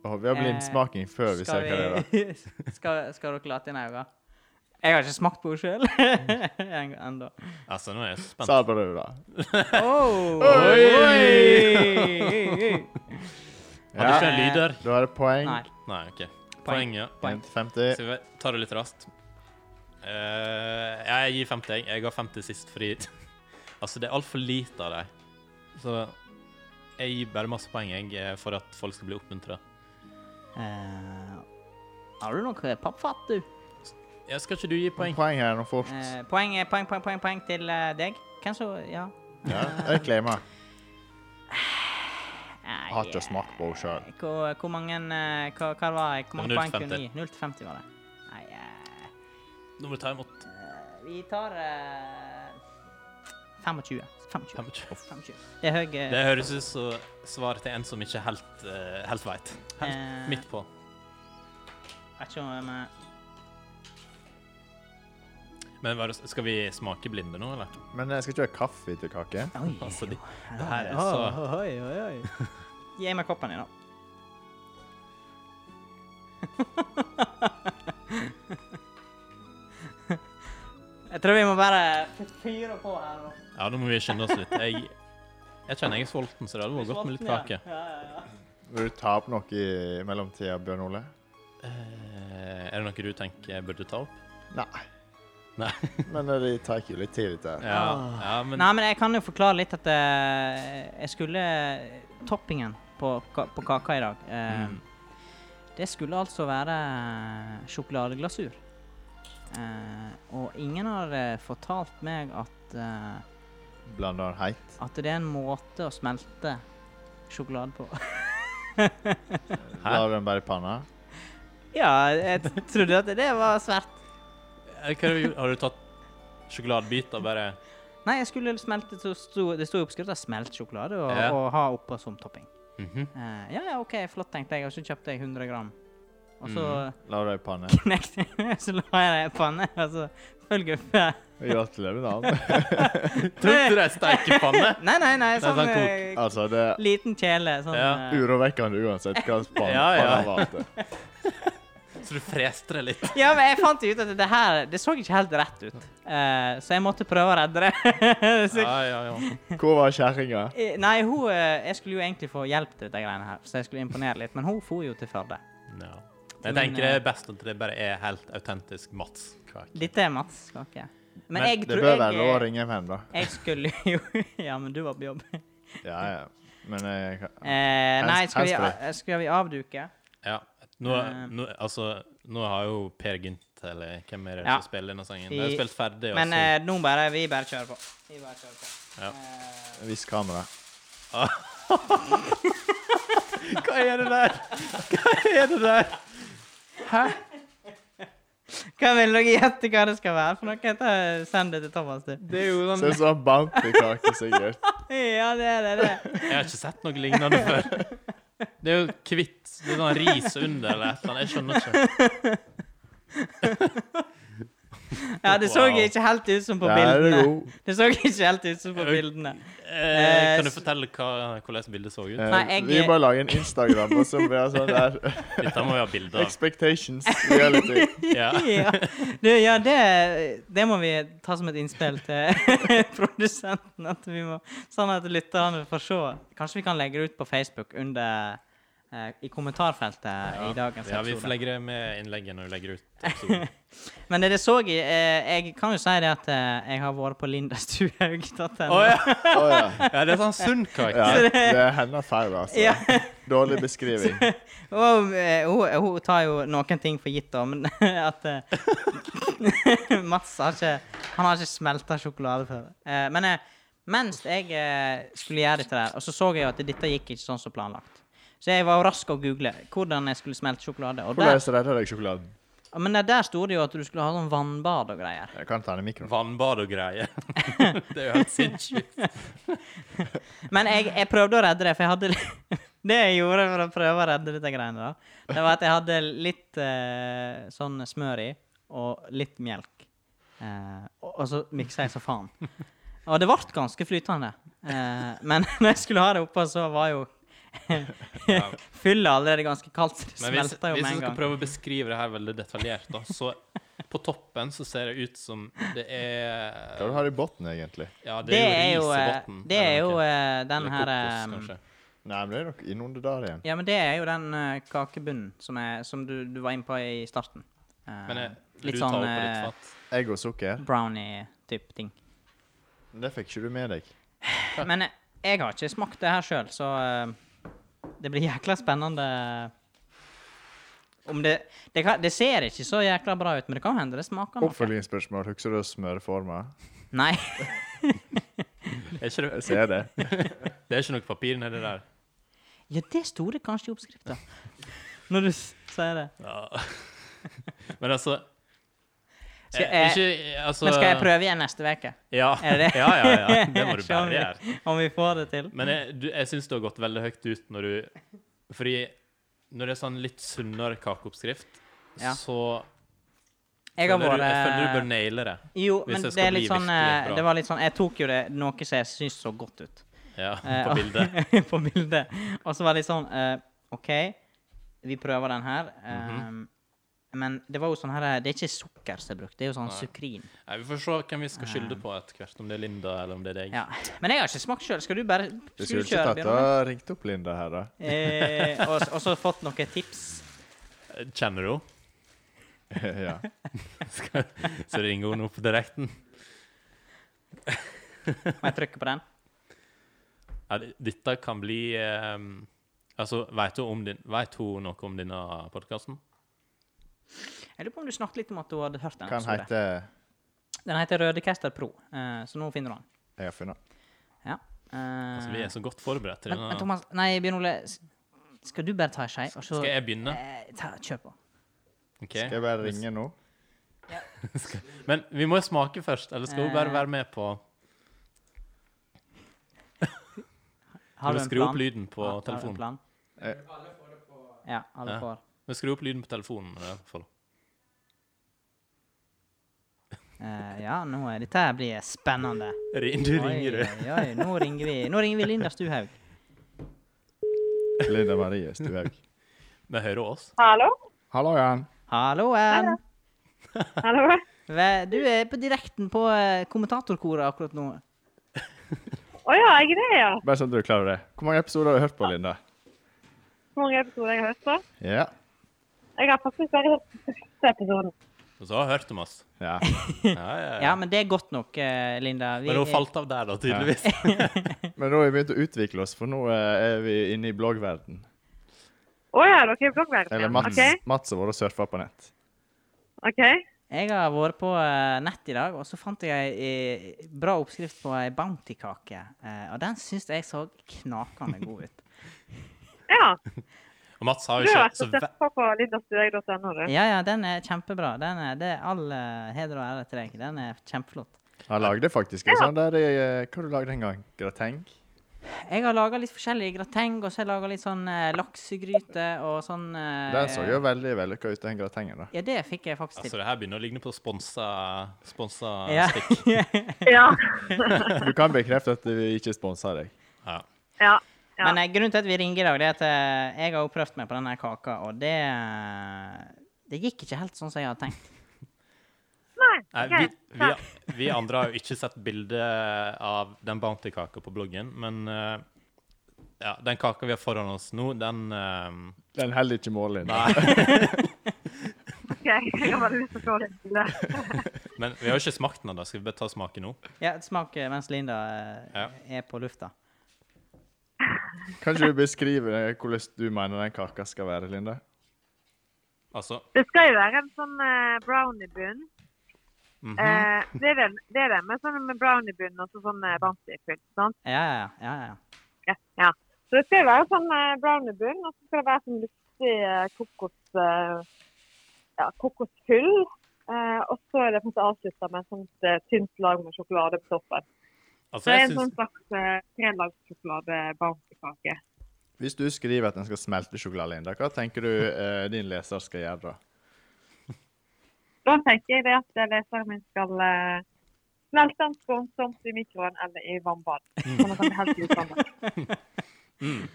S1: Åh, vi har
S2: Eh,
S1: blindsmaking før vi ser hva det er.
S2: skal, skal dere late inn øynene? Jeg har ikke smakt på henne sjøl ennå.
S3: Altså, nå er jeg spent.
S1: Sa bare du, da.
S2: Oh,
S1: Oi!
S2: oi!
S3: Hadde ikke
S1: Ja,
S3: en lyder?
S1: da er det poeng.
S2: Nei.
S3: Nei, OK. Poeng,
S2: Poeng.
S3: ja.
S2: poeng.
S1: 50.
S3: Skal vi ta det litt raskt? Eh, jeg gir 50, jeg. Jeg ga 50 sist fordi Altså, det er altfor lite av dem. Så jeg gir bare masse poeng, jeg, eh, for at folk skal bli oppmuntra.
S2: Eh, har du noe pappfat, du?
S3: Ja, skal ikke du gi poeng?
S1: Poeng her nå fort.
S2: Eh, poeng, eh, poeng, poeng, poeng, poeng til eh, deg. Hvem som Ja.
S1: Ja, jeg claimer.
S2: Nei,
S1: Har ikke smakt på henne sjøl.
S2: eh, Hvor, hvor mange, eh, hva, hva var jeg? Hvor mange
S3: Det var
S2: poeng kunne
S3: 0-50.
S2: jeg gi? 0 til 50 var det. Nei, eh,
S3: Nå må du ta imot
S2: vi tar eh, 25. 25.
S3: 25.
S2: 25. Det er høy eh,
S3: Det høres ut som svar til en som ikke helt, eh, helt veit.
S2: Eh.
S3: Helt midt på.
S2: Jeg vet ikke om eh, jeg
S3: Men hva, er det- skal vi smake blinde nå, eller?
S1: Men eh, jeg skal ikke ha kaffe til kake.
S2: Oi,
S3: Altså, det,
S2: her
S3: det her er
S2: har
S3: så
S2: vi- Oi, oi, oi. Gi meg koppen din, da. Jeg tror vi må bare fyre på her nå.
S3: Ja, nå må vi skynde oss litt. Jeg, jeg kjenner jeg er sulten, så det hadde vært godt med litt kake.
S2: Ja, ja, ja.
S1: Vil du ta opp noe i mellomtida, Bjørn Ole?
S3: Eh, er det noe du tenker jeg burde ta opp?
S1: Nei.
S3: Nei.
S1: Men eh, det tar jo litt tid, dette. her.
S3: Ja, ja men
S2: Ah. Nei, men jeg kan jo forklare litt at eh, jeg skulle eh, Toppingen på, ka- på kaka i dag eh,
S3: Mm.
S2: Det skulle altså være sjokoladeglasur. Eh, og ingen har eh, fortalt meg at, eh,
S1: Blander den heit.
S2: at det er en måte å smelte sjokolade på.
S1: La du den bare i panna?
S2: Ja, jeg t- trodde at det var svært.
S3: Eh, Hva har du gjort? Har du tatt sjokoladebiter bare
S2: Nei, jeg skulle smelte så sto- Det sto i oppskrifta 'smelt sjokolade' og,
S3: Ja.
S2: og ha oppå som topping.
S3: Mhm.
S2: Eh, ja, ja, OK, flott, tenkte jeg. Og så kjøpte jeg 100 gram. Og så
S1: La du den i panna?
S3: Mhm.
S2: knekte jeg, så la jeg det i panne, og så følger jeg
S1: Gratulerer med navnet.
S3: Tok du deg steikepanne?
S2: Nei, nei, nei,
S3: Nei,
S2: sånn
S3: sånn kok.
S2: eh,
S1: Altså, det er
S2: liten kjele. Sånn
S3: Ja.
S2: eh,
S1: urovekkende uansett hva panna
S3: Ja, ja.
S1: panna var til.
S3: Så du freste det litt?
S2: Ja, men jeg fant jo ut at det her Det så ikke helt rett ut. Eh, så jeg måtte prøve å redde det. så,
S3: Ja, ja, ja.
S1: Hvor var kjerringa?
S2: Eh, Nei, hun eh, Jeg skulle jo egentlig få hjelp til dette greiene her, så jeg skulle imponere litt, men hun for jo til Førde.
S3: Ja. Men jeg tenker det er best at det bare er helt autentisk Mats Kvake.
S2: Dette er Mats kake. Men,
S3: Men
S2: jeg
S1: Det
S2: tror
S1: bør
S2: jeg
S1: være lov å ringe hjem, da.
S2: Jeg skulle jo Ja, men du var på jobb.
S1: Ja, ja. Men jeg kan
S2: Eh, nei, skal vi,
S1: handsfree.
S2: eh, skal vi avduke?
S3: Ja. Nå,
S2: Eh.
S3: nå, altså, nå har jo Per Gynt, eller hvem er det
S2: Ja.
S3: som spiller denne sangen? De har
S2: I-
S3: spilt ferdig, altså. og
S2: Men
S3: så
S2: eh, nå bare Vi bare kjører på. Vi bare kjører på.
S3: Ja.
S2: Eh,
S1: Vis kamera.
S2: eh,
S3: Hva er det der? Hva er det der?
S2: hva vil dere gjette hva det skal være for noe? Ta- Send det til Thomas, du.
S3: Det er jo sånn-
S1: Ser ut som en bounty-kake, sikkert.
S2: Ja, det er det. det.
S3: Jeg har ikke sett noe lignende før. Det er jo hvitt. Det er sånn ris under eller et eller annet. Jeg skjønner ikke.
S2: Ja, det så
S3: Wow.
S2: ikke helt ut som på
S1: Ja, er det
S2: bildene.
S1: god?
S2: Det så ikke helt ut som på bildene.
S3: Eh, kan du fortelle hva, hvordan bildet så ut?
S1: Eh,
S2: Nei, jeg-
S1: Vi bare lager en Instagram, og så blir det sånn der
S3: Dette må vi ha bilde av.
S1: Expectations reality.
S3: Ja.
S2: Ja, du, ja det, det må vi ta som et innspill til produsenten. At vi må, sånn at lytterne får se. Kanskje vi kan legge det ut på Facebook under, eh, i kommentarfeltet i dagens
S3: ja, vi får
S2: episode.
S3: legge det med innlegget når vi legger ut episoden.
S2: Men det det så i eh, Jeg kan jo si det at eh, jeg har vært på lindastuhaug.no.
S3: Å ja.
S1: Å ja.
S3: ja, det er sånn sunn kake.
S1: ja. Det er hennes feil, altså.
S2: Ja.
S1: Dårlig beskriving.
S2: Og eh, hun, hun tar jo noen ting for gitt, da, men at eh, Mats har ikke Han har ikke smelta sjokolade før. Eh, men eh, mens jeg eh, skulle gjøre dette der, og så så jeg jo at dette gikk ikke sånn som planlagt. Så jeg var jo rask å google hvordan jeg skulle smelte sjokolade. Og der,
S1: Hvordan redder deg sjokoladen?
S2: men der sto det jo at du skulle ha sånn vannbad og greier.
S1: Jeg kan ta den i mikrofonen.
S3: Vannbad og greier. Det er jo helt sinnssykt.
S2: Men jeg, jeg prøvde å redde det, for jeg hadde li- Det jeg gjorde for å prøve å redde dette greiene, da, det var at jeg hadde litt eh, sånn smør i, og litt melk. Eh, og, og så miksa jeg så faen. Og det ble ganske flytende. Eh, men når jeg skulle ha det oppå, så var jo
S3: Ja.
S2: fyllet allerede ganske kaldt, så det
S3: Men hvis,
S2: smelta jo
S3: hvis
S2: med
S3: jeg
S2: en
S3: skal
S2: gang.
S3: prøve å beskrive det her veldig detaljert, da, så på toppen så ser det ut som det er
S1: Hva du har du i bunnen, egentlig?
S3: Ja, det,
S2: Det er jo,
S3: ris i
S2: eh,
S3: bunnen,
S2: det er
S3: eller
S2: jo
S3: noe.
S2: eh, den
S3: Eller
S2: her
S3: kokos,
S2: eh,
S3: kanskje.
S1: Nei, men det er nok innunder der igjen.
S2: Ja, men det er jo den eh, kakebunnen som, er, som du, du var inne på i starten. Eh,
S3: Men jeg,
S2: litt
S3: du tar
S2: sånn
S3: opp på
S2: eh,
S3: ditt fatt.
S1: Egg og sukker.
S2: brownie-type ting.
S1: Det fikk ikke du med deg.
S2: Men eh, jeg har ikke smakt det her sjøl, så eh, det blir jækla spennende. Om det, det, kan, det ser ikke så jækla bra ut, men det kan hende det smaker noe.
S1: Oppfølgingsspørsmål. Husker du smørforma?
S2: Nei.
S3: Er ikke det,
S1: Jeg ser det.
S3: det er ikke noe papir nedi der.
S2: Ja, det sto det kanskje i oppskrifta. Når du s- sier det.
S3: Ja. Men altså
S2: Skal
S3: eh,
S2: jeg-
S3: Ikke altså
S2: Men skal jeg prøve igjen neste uke?
S3: Ja,
S2: Er det det?
S3: ja, ja, ja. Det må du
S2: Se om
S3: bare
S2: vi-
S3: gjøre.
S2: Om vi får det til?
S3: Men jeg, du, jeg syns du har gått veldig høyt ut når du Fordi når det er sånn litt sunnere kakeoppskrift,
S2: Ja.
S3: så
S2: Jeg har
S3: føler du, jeg føler du bør
S2: vært eh,
S3: naile det.
S2: Jo,
S3: hvis
S2: men
S3: det
S2: det
S3: skal
S2: er litt
S3: bli
S2: sånn
S3: virkelig
S2: eh,
S3: bra.
S2: Det var litt sånn Jeg tok jo det noe som jeg syns så godt ut.
S3: Ja,
S2: Eh,
S3: på bildet.
S2: på bildet. Og så var det litt sånn eh, OK, vi prøver den her. eh,
S3: Mhm.
S2: Men det var jo sånn her Det er ikke sukker som er brukt, det er jo sånn sukrin.
S3: Nei, vi får se hvem vi skal skylde på etter hvert, om det er Linda eller om det er deg.
S2: Ja. Men jeg har ikke smakt sjøl. Skal du bare
S1: Du
S2: skal
S1: skulle
S2: du
S1: ikke
S2: kjøre,
S1: tatt
S2: Bjørnar?
S1: og ringt opp Linda her, da?
S2: Eh, og, og så fått noen tips.
S3: Eh, Kjenner du henne?
S1: ja.
S3: Skal- Så ringer hun opp direkten.
S2: Må jeg trykke på den?
S3: Ja, det- dette kan bli ehm, Altså, vet hun, om din, vet hun noe om denne podkasten?
S2: Jeg lurer på om du snakket litt om at du hadde hørt den.
S1: Hva han
S2: episoden.
S1: heter
S2: Den heter Rødecaster Pro, eh, så nå finner du den.
S1: Jeg har funnet
S2: Ja. Eh,
S3: Altså, vi er så godt forberedt til
S2: men, men
S3: denne.
S2: Thomas Nei, Bjørn Ole. s- Skal du bare ta en skei, og så
S3: Skal jeg begynne?
S2: eh, ta, kjør på. eh,
S3: Ok.
S1: Skal jeg bare ringe nå?
S3: Men vi må jo smake først, eller skal hun bare
S2: Eh,
S3: være med på
S2: Har
S3: Skal
S2: du
S3: vi
S2: en
S3: skru opp
S2: plan?
S3: lyden på
S2: Har- har du en
S3: telefonen?
S2: plan?
S1: Eh.
S2: Ja, alle
S3: Ja.
S2: får.
S3: Vi skrur opp lyden på telefonen. i hvert fall.
S2: Eh, ja, nå er dette her blir spennende.
S3: Ring- Du ringer, du.
S2: Oi, oi, nå ringer vi Nå ringer vi Linda Stuhaug.
S1: Linda Marie Stuhaug.
S3: Vi hører oss.
S4: Hallo?
S1: Hallo, Jan.
S2: Halloen!
S4: Hallo?
S2: Ve- Du er på direkten på eh, kommentatorkoret akkurat nå.
S4: Å ja, jeg er det, ja.
S1: Bare sånn at du klarer det. Hvor mange episoder har du hørt på, Linda?
S4: Hvor mange episoder jeg har hørt på?
S1: Ja.
S4: Jeg har faktisk bare hørt den første episoden.
S3: Og så har hun hørt om oss.
S1: ja.
S3: Ja, ja, ja.
S2: Ja, men det er godt nok, eh, Linda. Vi
S3: Men hun
S2: er-
S3: falt av der, da, tydeligvis.
S1: Men nå har vi begynt å utvikle oss, for nå eh, er vi inne i bloggverden.
S4: Å ja, dere er bloggverden.
S1: Eller
S4: ja.
S1: Mats,
S4: OK.
S1: Mats har vært og surfa på nett.
S4: ok.
S2: Jeg har vært på eh, nett i dag, og så fant jeg ei ei bra oppskrift på ei bounty-kake. eh, Og den syns jeg så knakende god ut.
S4: Ja.
S3: Og Mats har
S4: Du
S3: jo
S4: har
S3: ikke
S4: vært
S3: så
S4: og
S3: ve
S4: sett på på lindastureg.no, du.
S2: Ja, ja, den er kjempebra. Den er, det er all eh, heder og ære til deg. Den er kjempeflott.
S1: Han lagde faktisk en sånn der eh, Hva du lagde du en gang? Grateng?
S2: Jeg har laga litt forskjellige grateng, og så har jeg laga litt sånn eh, laksegryte og sånn eh,
S1: Den så jo veldig vellykka ut, den gratengen. da.
S2: Ja, det fikk jeg faktisk
S3: Altså,
S2: til.
S3: det her begynner å ligne på sponsa, sponsa
S2: Ja.
S3: stikk.
S4: Ja.
S1: Du kan bekrefte at vi ikke sponser deg.
S3: Ja.
S4: ja. Ja.
S2: Men eh, grunnen til at vi ringer i dag, det er at eh, jeg har jo prøvd meg på denne kaka, og det eh, Det gikk ikke helt sånn som jeg hadde tenkt.
S4: Nei.
S3: Nei,
S4: ok.
S3: vi, vi,
S4: Ja.
S3: vi andre har jo ikke sett bilde av den bounty-kaka på bloggen, men eh, ja, den kaka vi har foran oss nå, den eh,
S1: Den holder ikke mål, Linda.
S4: OK. Jeg har bare lyst til å se litt på det.
S3: Men vi har jo ikke smakt den ennå. Skal vi bare ta og smake nå?
S2: Ja, Smak eh, mens Linda eh,
S3: Ja.
S2: er på lufta.
S1: Kan ikke du beskrive eh, hvordan du mener den kaka skal være, Linda?
S3: Altså
S4: Det skal jo være en sånn eh, brownie-bunn.
S3: mhm.
S4: Eh, det er den- det er det med sånn med brownie-bunn og så sånn eh, bounty-fylt. sant?
S2: Ja, ja, ja. ja, ja.
S4: Ja. ja. Så det skal jo være sånn eh, brownie-bunn, og så skal det være sånn luftig eh, kokos... Eh, ja, kokosfyll. Eh, og så er det på en måte avslutta med et sånt eh, tynt lag med sjokolade på toppen.
S3: Altså,
S4: Så det er
S3: jeg
S4: en
S3: syns
S4: sånn slags eh, trelagssjokolade-bounty-kake.
S1: Hvis du skriver at den skal smelte sjokolade, Linda, hva tenker du eh, din leser skal gjøre da?
S4: Da tenker jeg det at leseren min skal eh, smelte den skånsomt i mikroen eller i vannbad. Sånn at den blir helt utvannet.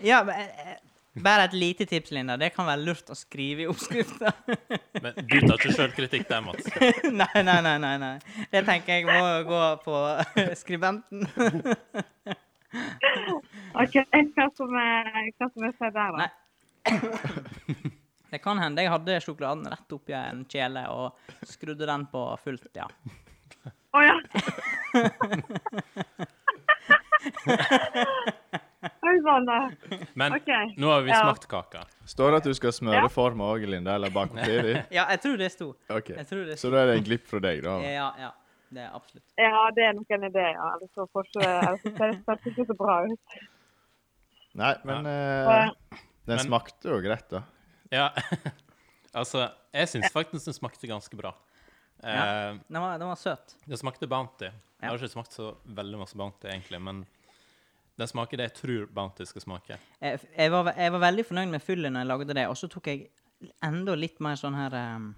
S2: Ja, men, eh, bare et lite tips, Linda. Det kan være lurt å skrive i oppskrifta.
S4: sånn-
S3: Men du tar ikke sjølkritikk der, Mats.
S2: nei, nei, nei, nei, nei. Det tenker jeg må gå på skribenten.
S4: Ok, hva som er, hva som er skjedd der da?
S2: Nei. Det kan hende jeg hadde sjokoladen rett oppi en kjele og skrudde den på fullt, ja.
S4: Å ja! Oi sann, da.
S3: Men
S4: Ok.
S3: nå har vi
S4: Ja.
S3: smakt kaka.
S1: Står det at du skal smøre
S4: Ja.
S1: forma òg, Linda, eller bak papiret?
S2: Ja, jeg tror det sto.
S1: Ok.
S2: Jeg tror det
S1: Så da er det en glipp fra deg, da.
S2: Ja, ja. Det er absolutt.
S4: Ja, det er nok en idé, ja. Ellers så får ikke, ellers så ser det faktisk ikke så bra ut.
S1: Nei, men eh, den
S3: Men-
S1: smakte jo greit, da.
S3: Ja. Altså, jeg syns faktisk den smakte ganske bra.
S2: Ja.
S3: Eh,
S2: Den var, den var søt.
S3: den smakte Bounty. Jeg har ikke smakt så veldig masse Bounty, egentlig, men den smaker det jeg tror Bounty skal smake.
S2: Jeg, jeg, var, jeg var veldig fornøyd med fyllet når jeg lagde det, og så tok jeg enda litt mer sånn her ehm,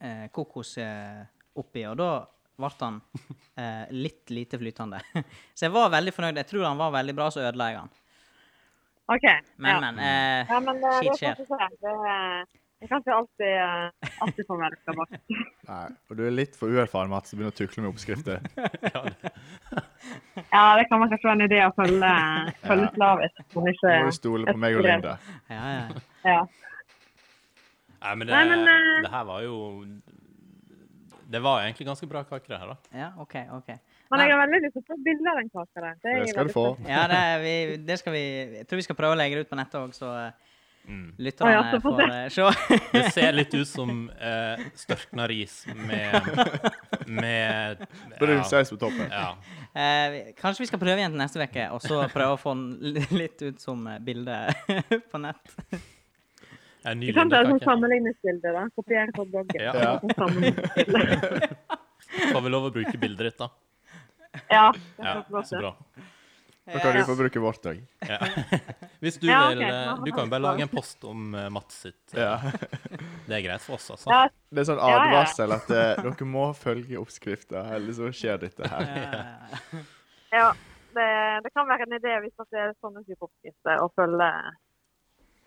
S2: eh, kokos eh, oppi, og da ble han eh, litt lite flytende. så jeg var veldig fornøyd. Jeg tror han var veldig bra, så ødela jeg han.
S4: OK.
S2: Men,
S4: ja.
S2: men. Eh,
S4: ja, men eh, det
S2: shit,
S4: får vi se. Det, eh, Jeg kan ikke alltid, eh, alltid få med dere bak.
S1: Nei. Og du er litt for uerfaren, Mats, til å begynne å tukle med oppskrifter.
S3: Ja, det-
S4: Ja, det kan man kanskje være en idé å følge, følge slavisk. men
S1: Du
S4: ikke-
S1: må jo stole på meg og Linda.
S2: ja, ja.
S4: Ja.
S3: Nei, men det,
S4: Nei, men, eh,
S3: det her var jo Det var egentlig ganske bra kake, det her, da.
S2: ja, OK. ok.
S4: Men jeg har veldig lyst til å få bilde av den kaka der. er
S1: Det
S4: jeg
S1: skal
S4: veldig
S1: du få.
S4: spent på.
S2: Ja, det, er vi, det skal vi Jeg tror vi skal prøve å legge det ut på nettet òg, så eh, lytterne
S4: Å, ja, så får
S2: får eh, se.
S3: Det ser litt ut som eh, størkna ris med Med
S1: Brun saus på toppen.
S3: Ja.
S2: Eh, vi- kanskje vi skal prøve igjen til neste uke, og så prøve å få den li- litt ut som eh, bilde på nett.
S3: En ny
S4: Vi kan ta et sånt
S3: lindekake.
S4: sammenligningsbilde. da. Kopiere fra bloggen.
S3: Ja.
S1: Ja.
S4: Sånn sammenligningsbilde.
S3: Får vi lov å bruke bildet ditt, da?
S4: Ja, det
S3: Ja,
S4: er godt,
S3: så
S4: det.
S3: bra.
S1: Da kan du få bruke vårt òg.
S3: Ja. Hvis du
S4: Ja, ok,
S3: vil eh,
S4: nå har
S3: Du kan jo bare
S4: jeg
S3: lage en post om eh, Mats sitt. eh,
S1: Ja.
S3: Det er greit for oss, altså.
S4: Ja,
S1: Det er sånn
S4: Ja, ja.
S1: advarsel at eh, dere må følge oppskrifta, ellers så skjer dette her.
S2: Eh,
S4: ja. Det, det kan være en idé hvis at det er sånne type oppskrifter, å følge,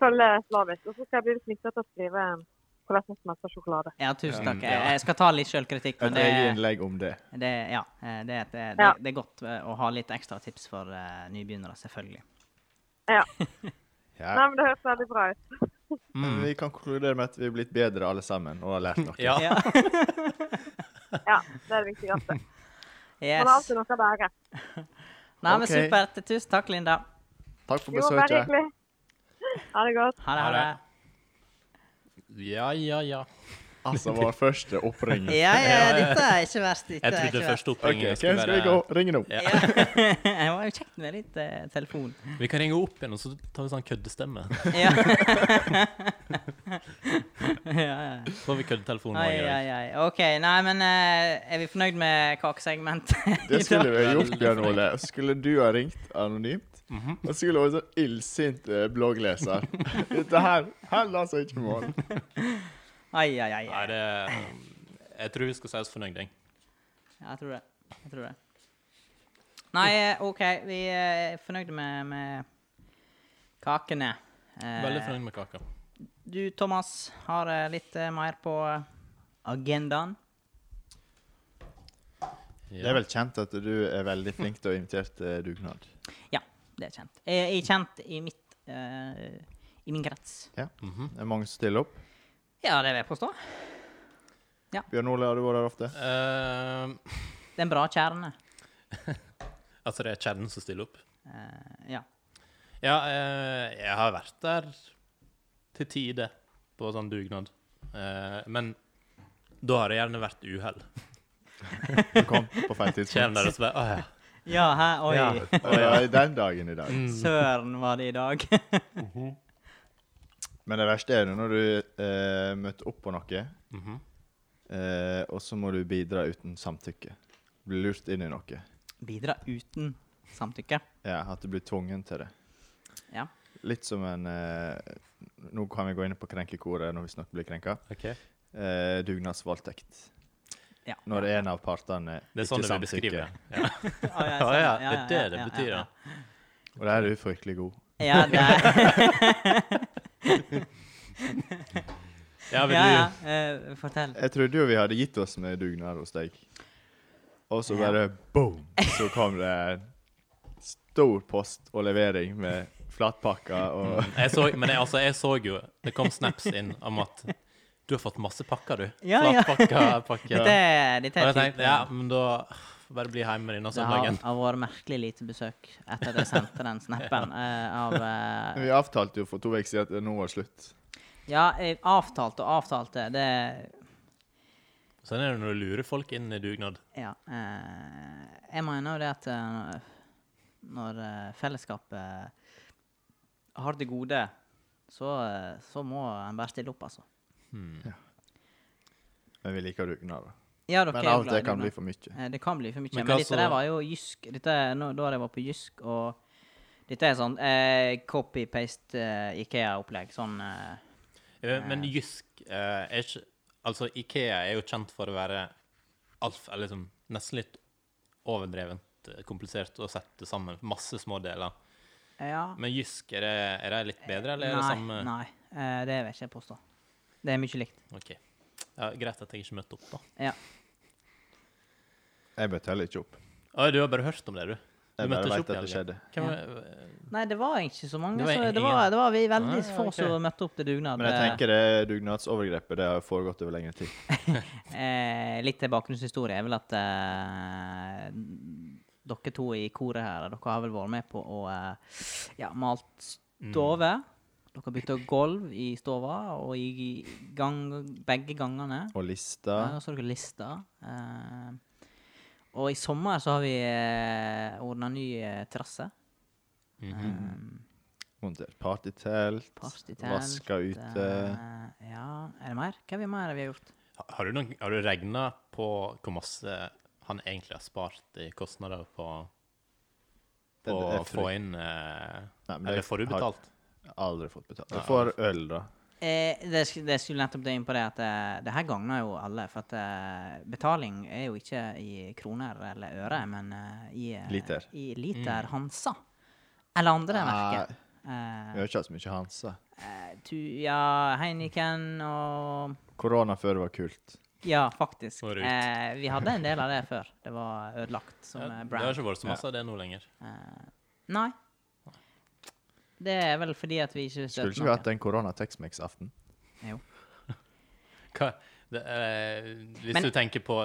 S4: følge slavisk. Og så skal jeg bli litt smittet til å skrive eh, hvordan man smelter sjokolade.
S2: ja, tusen takk.
S3: Ja.
S2: Jeg, jeg skal ta litt sjølkritikk, men
S1: Et
S2: det,
S1: eget innlegg om det.
S2: det, ja, eh, det, er et- det,
S4: Ja.
S2: det er godt eh, å ha litt ekstra tips for eh, nybegynnere, selvfølgelig.
S4: Ja. Nei,
S1: Ja. Mm.
S4: men det høres veldig bra ut.
S1: Men Vi kan konkludere med at vi er blitt bedre alle sammen og har lært noe.
S3: Ja.
S2: Ja.
S4: Ja, det er det viktigste. Man har
S2: Yes.
S4: alltid noe å bære.
S2: Nei, men
S1: Ok.
S2: supert. Tusen takk, Linda.
S1: Takk for
S4: Jo, bare
S1: besøket.
S4: hyggelig. Ha det godt.
S2: Ha det. Ha det.
S3: ja, ja, ja.
S1: Altså vår første oppringning.
S2: Ja, ja, dette er ikke verst. Dette
S3: Jeg
S2: er
S3: trodde
S2: ikke verst.
S3: første
S1: OK,
S3: oppringningen
S1: hvem skal vi gå ringe nå?
S3: Ja.
S2: Jeg var jo kjekt med litt eh, telefon.
S3: Vi kan ringe opp igjen, og så tar vi sånn køddestemme.
S2: Ja. ja, ja.
S3: Så får vi køddetelefonen
S2: Ai,
S3: vår.
S2: ai, ai. OK. Nei, men eh, er vi fornøyd med kakesegmentet?
S1: Det skulle vi ha
S3: Ja,
S1: gjort,
S3: veldig
S1: Bjørn Ole. Skulle du ha ringt anonymt? Og skulle vært sånn illsint eh, bloggleser. Dette her holder altså ikke mål.
S2: Ai, ai, ai.
S3: Nei, det, jeg tror vi skal si oss fornøyd, jeg.
S2: Ja, Jeg tror det. Jeg tror det. Nei, eh, OK. Vi eh, er fornøyde med, med kakene. Eh,
S3: Veldig fornøyd med kaka.
S2: Du, Thomas, har eh, litt eh, mer på agendaen.
S1: Det er vel kjent at du er veldig flink til å invitere til dugnad.
S2: Ja, det er kjent. Jeg jeg er kjent i mitt eh, I min krets.
S1: Ja. Det er mange som stiller opp.
S2: Ja, det vil jeg påstå.
S1: Bjørn Ole, har du vært her ofte?
S3: Eh,
S2: Det er en bra kjerne.
S3: altså, det er kjernen som stiller opp.
S2: Eh, ja.
S3: Ja, eh, jeg har vært der til tide på sånn dugnad. Eh, men da har det gjerne vært uhell.
S1: Du kom på feil tidspunkt.
S3: Kjernen deres bare Å ja.
S2: Ja, hæ? Oi.
S3: Ja.
S1: Og det er den dagen i dag.
S2: Søren var det i dag.
S1: Men det verste er jo når du eh, møter opp på noe,
S3: Mhm.
S1: eh, og så må du bidra uten samtykke. Bli lurt inn i noe.
S2: Bidra uten samtykke.
S1: Ja, At du blir tvungen til det.
S2: Ja.
S1: Litt som en eh, Nå kan vi gå inn på krenkekoret når vi snakker blir krenka.
S3: OK.
S1: Eh, dugnadsvoldtekt.
S2: Ja.
S1: Når en av partene
S3: Det er sånn
S1: ikke
S3: du vil beskrive
S1: samtykker.
S3: det. Ja.
S2: Å, jeg
S3: Ja,
S2: ser
S3: ja,
S2: det.
S3: det er det det
S2: ja, ja,
S3: betyr,
S2: ja.
S3: ja.
S1: Og der er du fryktelig god.
S2: Ja, det er
S3: Ja, vil
S2: Ja, ja.
S3: du
S2: eh, Fortell.
S1: Jeg trodde jo vi hadde gitt oss med dugnad hos deg. Og så bare boom, så kom det en stor post og levering med flatpakker
S2: Mm.
S1: og
S3: jeg så, Men jeg, altså, jeg så jo Det kom snaps inn om at du har fått masse pakker, du.
S2: Ja, ja.
S3: Flatpakker, pakker.
S2: Dette er, dette
S3: Og
S2: er
S3: jeg tenkte,
S2: typen-
S3: ja, altså, men da bare bli hjemme denne
S2: Det har,
S3: søndagen.
S2: har vært merkelig lite besøk etter at jeg sendte den snappen eh, av eh,
S1: Men Vi avtalte jo for to uker siden at det nå var slutt.
S2: Ja, jeg avtalte og avtalte. Det
S3: Sånn er det når du lurer folk inn i dugnad.
S2: Ja. Eh, jeg mener jo det at eh, når eh, fellesskapet har det gode, så, eh, så må en bare stille opp, altså.
S1: Men vi liker dugnad. da.
S2: Ja, dere
S1: Men
S2: er jo
S1: av og
S2: glad i
S1: til kan
S2: dugnad.
S1: bli for mye.
S2: Eh, Det kan bli for mye.
S3: Men
S2: Men,
S3: hva så-
S2: dette der var jo Jysk. Dette er nå, da jeg var på Jysk, og dette er sånn eh, copy-paste eh, Ikea-opplegg. Sånn eh,
S3: Eh, Men Jysk eh, er ikke Altså, Ikea er jo kjent for å være alf, eller liksom nesten litt overdrevent eh, komplisert å sette sammen masse små deler.
S2: Ja.
S3: Men Jysk, er det, er det litt bedre, eller er det
S2: nei,
S3: samme
S2: nei. Eh, det vil jeg ikke påstå. Det er mye likt.
S3: OK. Ja, greit at jeg ikke møtte opp, da.
S2: Ja.
S1: Jeg bøt heller ikke opp.
S3: Å, du har bare hørt om det, du? Du
S1: Jeg
S3: møtte
S1: bare
S3: ikke
S1: vet
S3: opp i
S1: at det
S3: helgen.
S1: skjedde.
S3: Hvem, eh,
S2: Nei, det var ikke så mange.
S3: Det
S2: Det
S3: var
S2: var, så det
S3: ingen.
S2: var, det var vi veldig
S3: Ah,
S2: få
S3: ok.
S2: som møtte opp til dugnad.
S1: Men jeg
S2: Eh,
S1: tenker det dugnadsovergrepet det har jo foregått over lengre tid.
S2: Eh, litt til bakgrunnshistorie er vel at eh, dere to i koret her, dere har vel vært med på å eh, ja, malt stove. Dere bytta gulv i stova og i gang, begge gangene.
S1: Og
S2: Ja,
S1: lista.
S2: og så har dere lista. Eh, og i sommer så har vi eh, ordna ny eh, terrasse. Mhm. Eh,
S1: Montert partytelt.
S2: Partytelt.
S1: Vaska ute.
S2: eh, ja, er det mer? Hva er vi mer vi har gjort?
S3: Ha- Har du, noen- har du regna på hvor masse han egentlig har spart i kostnader på, på
S1: Det
S3: å
S1: er
S3: få
S1: fri-
S3: inn eh,
S1: Nei, men
S3: Eller
S1: det
S3: får du
S1: har-
S3: betalt?
S1: Aldri fått betalt. Du
S3: Nei,
S1: får øl, da.
S2: Eh, det, sk- det skulle nettopp det inn på det at eh, det her gagner jo alle. For at eh, betaling er jo ikke i kroner eller øre, men eh, i eh,
S1: Liter. Ah.
S2: I
S3: Mm.
S2: liter Hansa. Eller andre
S1: Nei.
S2: merker. Eh,
S1: Vi har ikke hatt så mye Hansa.
S2: eh, tu, ja, Heineken og
S1: Korona før det var kult.
S2: Ja, faktisk.
S3: Og Rut.
S2: Eh, vi hadde en del av det før. Det var ødelagt som
S3: Ja,
S2: eh,
S3: det har
S2: brand. Eh,
S3: ikke vært så masse av det nå lenger.
S2: Nei. Det er vel fordi at vi ikke
S1: Skulle ikke vi hatt en korona-Texmex-aften?
S2: Jo.
S3: Hva, det, eh, hvis
S2: Men-
S3: du tenker på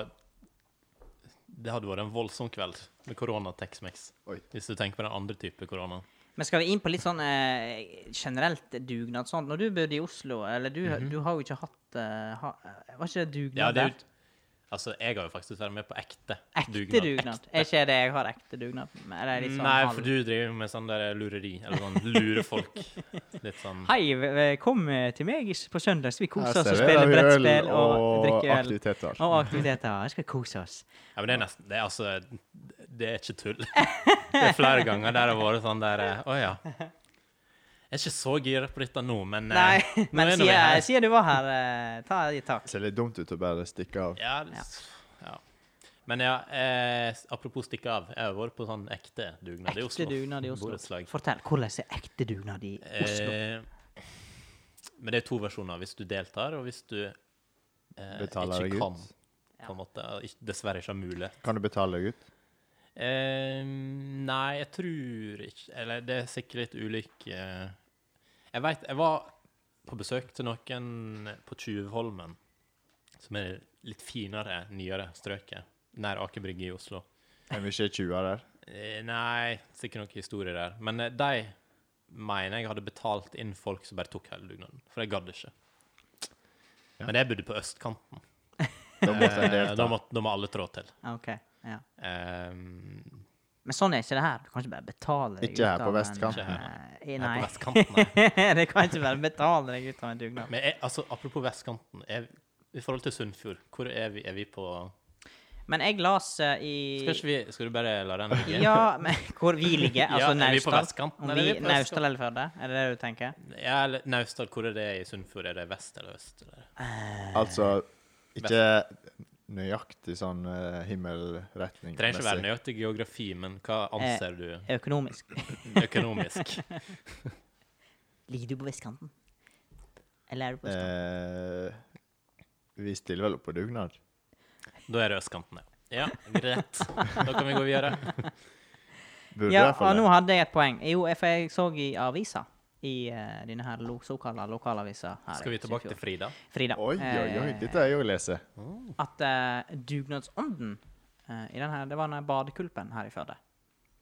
S3: Det hadde vært en voldsom kveld med korona Tex-Mex.
S1: Oi.
S3: Hvis du tenker på den andre type korona.
S2: Men skal vi inn på litt sånn eh, generelt dugnad sånn? Når du bodde i Oslo, eller du, du har jo ikke hatt eh, ha, Var ikke det dugnad
S3: Mhm. Ja, det
S2: der?
S3: er jo, altså, jeg har jo faktisk vært med på ekte
S2: Ekte dugnad. Er ikke det jeg har ekte dugnad? Eller er det litt sånn
S3: Nei,
S2: halv-
S3: for du driver med sånn der lureri. Eller sånn lure folk. Litt sånn
S2: Hei, v- v- kom eh, til meg på søndag, så vi koser oss og
S1: serverer
S2: spiller
S1: vi øl
S2: brettspill og,
S1: og
S2: drikker øl.
S1: aktiviteter.
S2: Og aktiviteter. Jeg skal kose oss.
S3: Ja, men det er nesten Det er altså Det er ikke tull. Det er flere ganger der det har vært sånn der eh, Å ja. Jeg er ikke så gira på dette nå, men eh,
S2: Nei,
S3: nå
S2: men
S3: er nå vi
S2: siden
S3: her.
S2: siden du var her, eh, ta i tak.
S1: Det ser litt dumt ut å bare stikke av.
S3: Ja, det- ja. Men ja, eh, apropos stikke av. Jeg har vært på sånn ekte dugnad i Oslo.
S2: Ekte dugnad i Oslo.
S3: Borettslag.
S2: Fortell, hvordan er ekte dugnad i Oslo?
S3: Eh, men det er to versjoner. Hvis du deltar, og hvis du eh,
S1: Betaler deg
S3: ikke
S1: ut.
S3: kan. På en måte, og ikke- dessverre ikke har mulighet.
S1: Kan du betale deg ut?
S3: Eh, nei, jeg tror ikke Eller det er sikkert litt ulik eh. Jeg veit Jeg var på besøk til noen på Tjuvholmen, som er litt finere, nyere strøket, nær Aker Brygge i Oslo.
S1: Er vi ikke 20 der?
S3: Eh, nei, sikkert noen historier der. Men eh, de mener jeg hadde betalt inn folk som bare tok hele dugnaden, for jeg gadd ikke. Men jeg bodde på østkanten.
S1: Da måtte jeg
S3: Eh, da,
S1: delta.
S3: må, da må alle trå til.
S2: Ah, Ok, ja.
S3: Eh,
S2: Men sånn er ikke det her. Du kan ikke bare betale deg
S1: Ikke her
S2: ut
S1: på
S2: av en,
S1: vestkanten.
S2: eh, i-
S3: her på
S2: Nei.
S3: vestkanten her.
S2: du kan ikke bare betale deg ut av en dugnad.
S3: Men er, altså, apropos vestkanten, er, i forhold til Sunnfjord, hvor er vi, er vi på
S2: Men jeg las eh, i
S3: skal, ikke vi, skal du bare la den ligge?
S2: Ja, men hvor vi ligger?
S3: Ja,
S2: Altså
S3: er vi på
S2: Naustdal?
S3: vestkanten,
S2: Om
S3: eller er
S2: vi-
S3: vi på
S2: Naustdal eller Førde? Er det det du tenker?
S3: Ja, eller Naustdal, hvor er det i Sunnfjord? Er det vest eller øst? Eller? Eh,
S1: Altså, ikke nøyaktig sånn uh, himmelretning.
S3: Det trenger ikke være nøyaktig geografi, men hva
S2: Eh.
S3: anser du
S2: Økonomisk.
S3: økonomisk?
S2: Ligger du på vestkanten? Eller er du på vestkanten?
S1: Eh, vi stiller vel opp på dugnad.
S3: Da er det østkanten, ja. Ja, greit. Da kan vi gå videre.
S1: Burde i
S2: ja,
S1: hvert
S2: og
S1: fall
S2: nå
S1: det.
S2: hadde jeg et poeng. Jo, for jeg så i avisa, i eh, denne her lo såkalte lokalavisa her.
S3: Skal vi tilbake til Frida?
S2: Frida?
S1: Oi, oi, oi,
S2: eh,
S1: dette er jo å lese.
S2: At eh, dugnadsånden eh, i den her, Det var den her badekulpen her i Førde.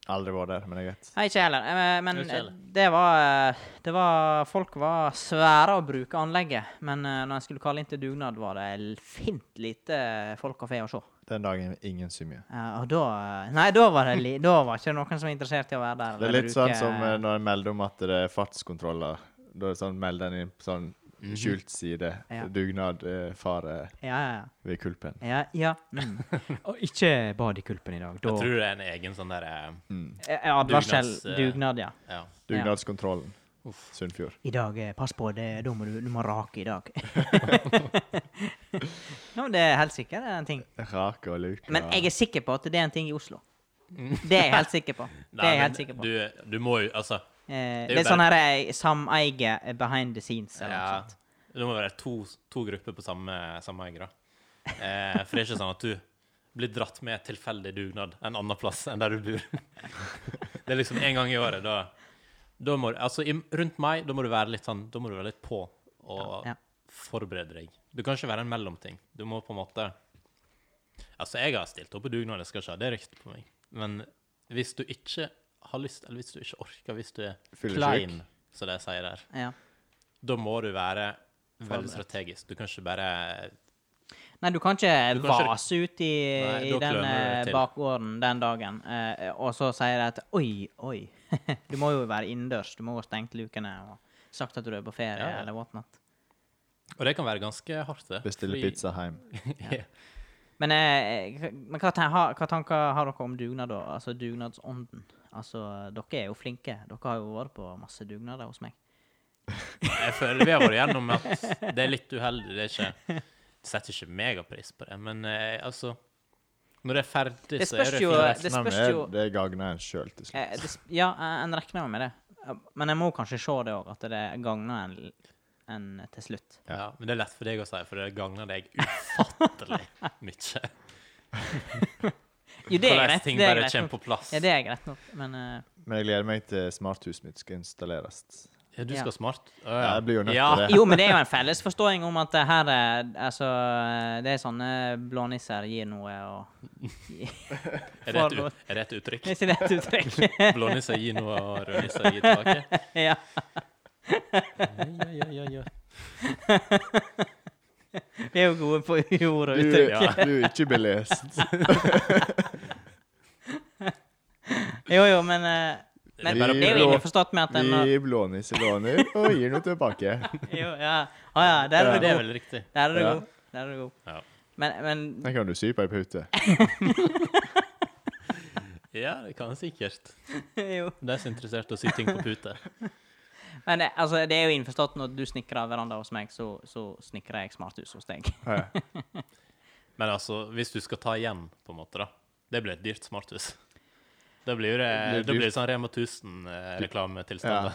S1: Aldri vært der, men det er greit.
S2: Nei, ikke jeg heller. Eh, Men
S3: Ikke heller.
S2: eh, det var, eh, det var Folk var svære å bruke anlegget. Men eh, når en skulle kalle inn til dugnad, var det l- fint lite eh, folk og fe å se.
S1: Den dagen ingen symje.
S2: Eh, og da eh, Nei, da var det li, da var ikke noen som var interessert i å være der.
S1: Det er litt
S2: Bruke-
S1: sånn som eh, når en melder om at det er fartskontroller. Da er det sånn, melder en inn på sånn
S3: Mhm.
S1: skjult side.
S2: Ja.
S1: Dugnad, eh, fare
S2: Ja, ja, ja.
S1: ved kulpen.
S2: Ja, ja. Mm. Og ikke bad i kulpen i dag. Da
S3: Jeg tror det er en egen sånn derre
S2: Eh, advarsel.
S3: Dugnads, eh,
S2: Dugnad, ja.
S3: ja.
S1: Dugnadskontrollen. Sunnfjord.
S2: I dag, eh, pass på det, da må du, du må rake i dag. Nå, det er helt sikkert en ting.
S1: Rake og luke.
S2: Men jeg er sikker på at det er en ting i Oslo. Det er jeg helt sikker på. Det er jeg helt sikker på.
S3: Mm. Du, du må jo Altså,
S2: Eh,
S3: det er
S2: det er
S3: jo
S2: sånn her eh, sameie eh, behind the scenes eller noe
S3: ja,
S2: sånt.
S3: det må være to, to grupper på samme, samme eier, da. Eh, for det er ikke sånn at du blir dratt med tilfeldig dugnad en annen plass enn der du bor. Det er liksom en gang i året. Da, da må, du- altså, i, rundt meg da må du være litt sånn Da må du være litt på og
S2: Ja, ja.
S3: forberede deg. Du kan ikke være en mellomting. Du må på en måte Altså, jeg har stilt opp på dugnad, jeg skal ikke ha det ryktet på meg. Men hvis du ikke har lyst, eller hvis du ikke orker, hvis du er
S1: Fyllesyk.
S3: klein, som de sier der,
S2: Ja.
S3: da må du være veldig strategisk. Du kan ikke bare
S2: Nei, du kan ikke
S3: Du kan ikke-
S2: vase ut i,
S3: Nei,
S2: i
S3: da
S2: den
S3: klør det
S2: eh,
S3: til.
S2: bakgården den dagen, eh, og så sier de at oi, oi. du må jo være innendørs. Du må jo ha stengt lukene og sagt at du er på ferie
S3: Ja, ja.
S2: eller whatnot.
S3: Og det kan være ganske hardt, det.
S1: Bestille
S3: fordi-
S1: pizza hjem.
S3: ja.
S2: Men, eh, hva- men hva, ten- ha, hva tanker har dere om dugnad, da? Altså dugnadsånden? Altså, dere er jo flinke. Dere har jo vært på masse dugnader hos meg.
S3: Jeg føler vi har vært gjennom at det er litt uheldig. Det er ikke Setter ikke megapris på det, men eh, altså Når det er ferdig,
S2: Det
S3: så er
S2: spørs
S3: det
S2: jo- eh,
S3: fint.
S2: det
S1: Nei, men
S2: spørs
S1: det-
S2: jo-
S1: Det gagner en sjøl til slutt.
S2: Eh, det, sp- ja, eh, en regner jo med det. Eh, Men jeg må kanskje se det òg, at det gagner en, en til slutt.
S3: Ja, men det er lett for deg å si, for det gagner deg ufattelig mye.
S2: Jo, det er
S3: Hvordan
S2: greit.
S3: ting
S2: Det er
S3: bare
S2: greit
S3: kommer
S2: nok.
S3: på plass.
S2: Ja, det er greit nok, men eh,
S1: Men jeg gleder meg til smarthuset mitt skal installeres.
S3: Ja, du
S2: Ja.
S3: skal smart. Å,
S1: Ja, jeg blir jo nødt til det.
S2: Jo, men det er jo en felles forståing om at eh, her er Altså, det er sånne blånisser gir noe og
S3: Er det et, ut- er det et uttrykk?
S2: Det er ikke det et uttrykk?
S3: Blånisse gir noe, og rødnisse gir tilbake?
S2: ja.
S3: Ja, ja, ja, ja.
S2: Vi er jo gode på ord
S1: Du,
S2: og
S1: du
S2: uttrykk.
S1: er ikke belest.
S2: Jo, jo, men eh, men
S1: Vi
S2: det er jo
S1: blå-
S2: innforstått med at en
S1: Vi blåner ikke låner, og gir noe tilbake.
S2: jo, ja. Å ja, der er
S3: Ja,
S2: du
S3: det er
S2: god.
S3: vel riktig.
S2: Der er du
S1: Ja.
S2: god. Der er du god.
S3: Ja.
S2: Men, men
S1: Den kan du sy på ei pute.
S3: Ja, det kan jeg sikkert.
S2: jo.
S3: De er så interessert i å sy ting på pute.
S2: Men eh, altså, det er jo innforstått når du snikrer av veranda hos meg, så, så snikrer jeg smarthus hos deg.
S1: Ja.
S3: Men altså, hvis du skal ta igjen, på en måte, da. Det blir et dyrt smarthus. Da blir det,
S1: Det blir
S3: da blir
S1: dyrt.
S3: det sånn Rema 1000-reklametilstand.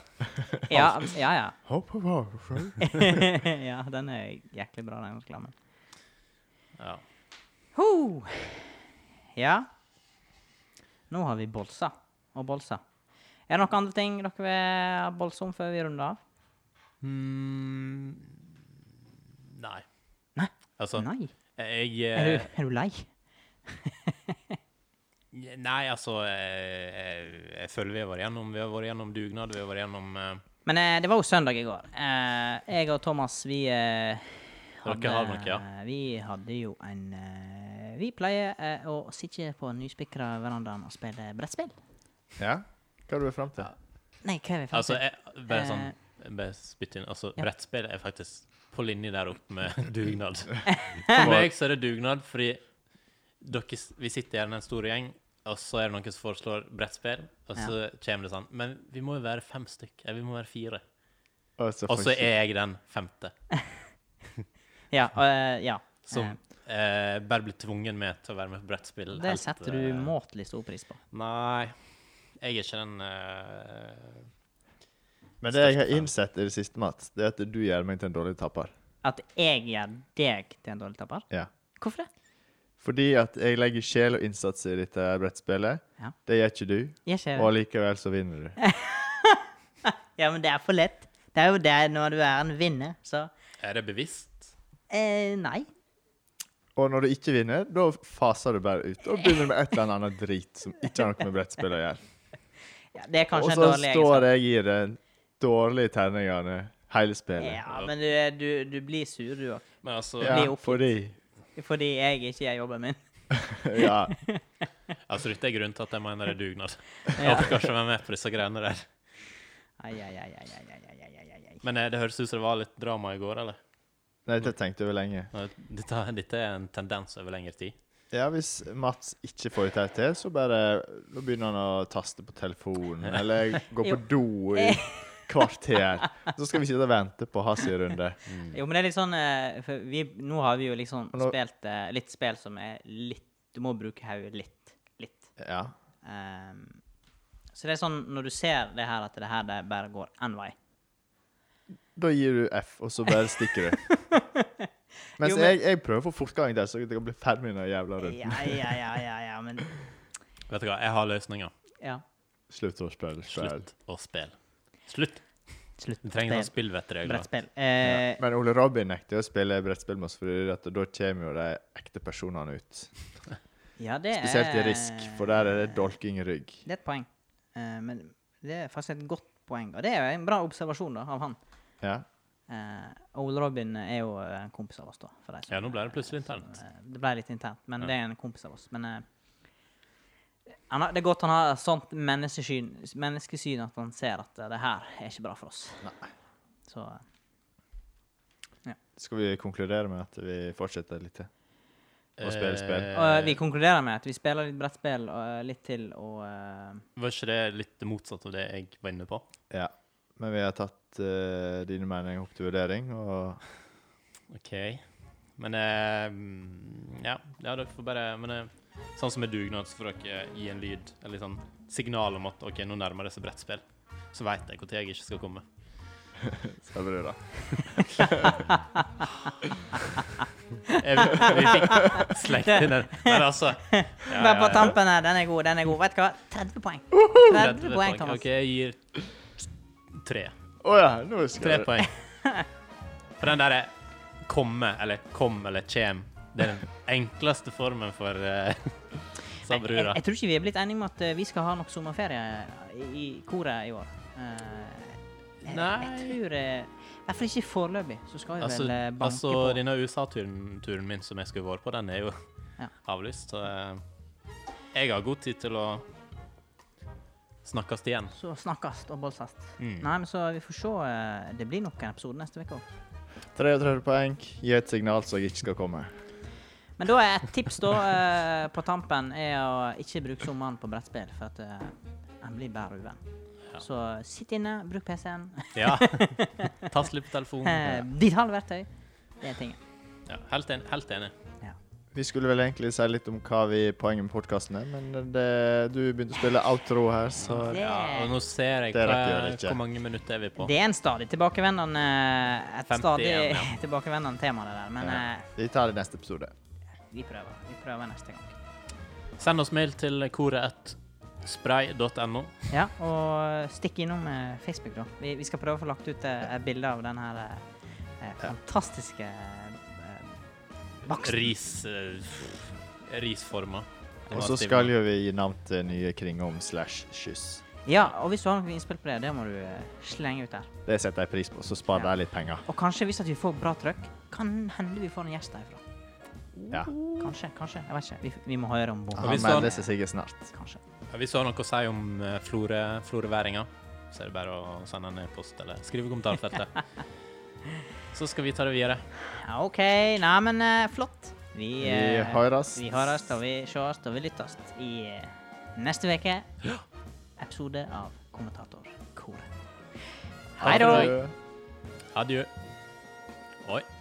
S2: Ja, ja. ja.
S1: Hopp, hopp, hopp, hopp.
S2: ja, den er jæklig bra, den reklamen.
S3: Ja.
S2: Ho! Ja. Nå har vi bolsa og bolsa. Er det noen andre ting dere vil bolse om før vi runder av?
S3: Mm, nei.
S2: Nei.
S3: Altså,
S2: Nei.
S3: jeg
S2: Er
S3: eh,
S2: du, er du lei?
S3: Nei, altså eh, jeg, jeg føler vi har vært gjennom Vi har vært gjennom dugnad, vi har vært gjennom eh,
S2: Men eh, det var jo søndag i går. Eh, jeg og Thomas, vi eh,
S3: Dere har nok, ja.
S2: Vi hadde jo en eh, Vi pleier eh, å sitte på nyspikra verandaen og spille brettspill.
S1: Ja? Hva er du fram til?
S2: Nei, hva er vi fram
S3: Altså,
S2: til?
S3: jeg, bare sånn jeg bare spytt inn. Altså,
S2: Eh. ja.
S3: brettspill er faktisk på linje der oppe med dugnad. For meg så er det dugnad fordi dere, s- vi sitter gjerne en stor gjeng, og så er det noen som foreslår brettspill, og så kommer det sånn Men vi må jo være fem stykk. Eller vi må være fire.
S1: Og så
S3: Og så
S1: får ikke-
S3: er jeg den femte
S2: Ja, eh, ja.
S3: som eh, bare blir tvungen med til å være med på brettspill.
S2: Det
S3: helt,
S2: setter
S3: eh,
S2: du måtelig stor pris på.
S3: Nei. Jeg er ikke den eh,
S1: Men det jeg har
S3: Største fan.
S1: innsett i det siste, Mats, det er at du gjør meg til en dårlig tapper.
S2: At jeg gjør deg til en dårlig tapper?
S1: Ja.
S2: Hvorfor det?
S1: Fordi at jeg legger sjel og innsats i dette brettspillet.
S2: Ja.
S1: Det gjør ikke du.
S2: Jeg ser
S1: Og
S2: det.
S1: likevel så vinner du.
S2: Ja, men det er for lett. Det er jo det når du er en vinner, så
S3: Er det bevisst?
S2: eh, Nei.
S1: Og når du ikke vinner, da faser du bare ut og begynner med et eller annet drit som ikke har noe med brettspill å gjøre.
S2: Ja, det er
S1: Og
S2: kanskje en
S1: så
S2: dårlig
S1: står jeg i de dårlige terningene hele spillet.
S2: Ja, men du, du, du blir sur, du òg.
S3: Men altså,
S1: Ja,
S2: blir oppgitt.
S1: fordi
S2: Fordi jeg ikke gjør jobben min.
S1: Ja.
S3: altså dette er grunnen til at jeg mener det er dugnad. Jeg
S2: Ja.
S3: orker ikke å være med på disse greiene der.
S2: Ai, ai, ai, ai, ai, ai, ai, ai, ai, ai.
S3: Men eh, det høres ut som det var litt drama i går, eller?
S1: Nei, dette tenkte jeg over lenge.
S3: Nei, Dette, dette er en tendens over lengre tid.
S1: Ja, hvis Mats ikke får det til, til, så bare Nå begynner han å taste på telefonen, eller gå på do i kvarter. Så skal vi sitte og vente på hans runde.
S2: Jo, men det er litt sånn eh, For vi, nå har vi jo liksom
S1: Og nå-
S2: spilt eh, litt spill som er litt Du må bruke hodet litt. Litt.
S1: Ja.
S2: Ehm, så det er sånn når du ser det her, at det her det bare går én vei.
S1: Da gir du F, og så bare stikker du. Mens
S2: Jo, men-
S1: jeg, jeg prøver å få fortgang der, så jeg kan bli ferdig med den jævla runden.
S2: Ja, ja, ja, ja, ja, men
S3: Vet du hva, jeg har løsninger.
S2: Ja.
S1: Slutt å spille spill.
S3: Slutt å spille. Slutt!
S2: Slutt.
S3: Du trenger noen spillvettregler.
S2: Brettspill. Eh,
S1: Men Ole Robin nekter å spille brettspill med oss, fordi at da kommer jo de ekte personene ut.
S2: ja, det er
S1: Spesielt i Risk, for der er det dolking i rygg.
S2: Det er et poeng. Eh, men det er faktisk et godt poeng. Og det er jo en bra observasjon da, av han.
S1: Ja.
S2: Eh, Ole Robin er jo eh, en kompis av oss, da. For de som,
S3: Ja, nå ble det plutselig
S2: som,
S3: internt.
S2: eh, det ble litt internt, men det er en kompis av oss. Men eh, han har, det er godt han har sånt menneskesyn, menneskesyn at han ser at eh, det her er ikke bra for oss. Så eh,
S1: Skal vi konkludere med at vi fortsetter litt til? Og spille spill.
S3: Eh,
S2: og vi konkluderer med at vi spiller litt brettspill og litt til og eh,
S3: Var ikke det litt motsatt av det jeg var inne på?
S1: Ja. Men vi har tatt eh, dine meninger opp til vurdering, og
S3: OK. Men eh, mm, ja, ja, dere får bare Men eh, sånn som med dugnad, så får dere gi en lyd, eller sånn signal om at OK, nå nærmer det seg brettspill. Så veit jeg når jeg ikke skal komme.
S1: skal du da?
S3: Jeg, vi fikk slengt inn den. Men altså ja,
S2: Bare på tampen her. Den er god, den er god. Vet du hva? 30 poeng. 30 poeng, Thomas.
S3: OK, jeg gir tre.
S1: Å ja, nå husker
S3: Tre
S1: jeg det.
S3: poeng. For den derre komme, eller kom, eller kjem, det er den enkleste formen for uh,
S2: Jeg, jeg,
S3: sabrura.
S2: jeg tror ikke vi er blitt enige om at eh, vi skal ha nok sommerferie i, i koret i år. Eh, jeg, jeg
S3: Nei.
S2: tror eh, I hvert fall ikke foreløpig. Så skal vi
S3: Altså,
S2: vel eh, banke
S3: altså
S2: på.
S3: denne USA-turen turen min som jeg skulle vært på, den er jo
S2: Ja.
S3: avlyst. Så eh, jeg har god tid til å snakkes igjen.
S2: Så snakkes og bolsast.
S3: Mm.
S2: Nei, men så vi får se. eh, Det blir nok en episode neste uke òg.
S1: 33 poeng. Gi et signal så jeg ikke skal komme.
S2: Men da er et tips da eh, på tampen er å ikke bruke sommeren på brettspill, for at eh, en blir bare uvenn.
S3: Ja.
S2: Så sitt inne, bruk PC-en.
S3: Ja. Tas litt på telefonen.
S2: Ditt halve verktøy. Det er tingen.
S3: Ja, helt, en, helt enig.
S1: Vi skulle vel egentlig si litt om hva vi poenget med podkasten er, men det, du begynte å spille outro her, så
S2: Det-
S3: Ja, og nå ser jeg
S1: Det
S3: hva,
S1: rekker jeg ikke.
S3: hvor mange minutter er vi på.
S2: Eh. Det er en stadig tilbakevendende Et
S3: 51,
S2: stadig
S3: ja.
S2: tilbakevendende tema, det der. Men
S1: Ja.
S2: eh,
S1: vi tar det i neste episode.
S2: vi prøver. Vi prøver neste gang.
S3: Send oss mail til koret1spray.no.
S2: Ja, og stikk innom eh, Facebook, da. Vi, vi skal prøve å få lagt ut eh, et bilde av den her eh, eh, fantastiske eh, baksten.
S3: Ris, eh, risformer.
S1: Og så skal jo vi gi navn til nye kringom slash kyss.
S2: Ja, og hvis du har noe innspill på det, det må du eh, slenge ut der.
S1: Det setter jeg pris på, så sparer
S2: Ja.
S1: jeg litt penger.
S2: Og kanskje, hvis at vi får bra trøkk, kan hende vi får en gjest derfra.
S1: Ja.
S2: Kanskje, kanskje. Jeg vet ikke. Vi, vi må høre om bomben.
S1: Han
S3: hvis han-
S1: melder seg sikkert snart.
S2: Kanskje.
S3: Hvis du har noe å si om eh, flore, floreværinga, så er det bare å sende en e-post eller skrive i kommentarfeltet. Så skal vi ta det videre.
S2: Ja, OK. Nei, men eh, flott. Vi,
S1: Vi
S2: eh,
S1: høres.
S2: Vi høres og vi sees og vi lyttes i eh, neste uke. Episode av Kommentatorkoret. Hei da.
S1: Ha det.
S3: Adjø. Oi.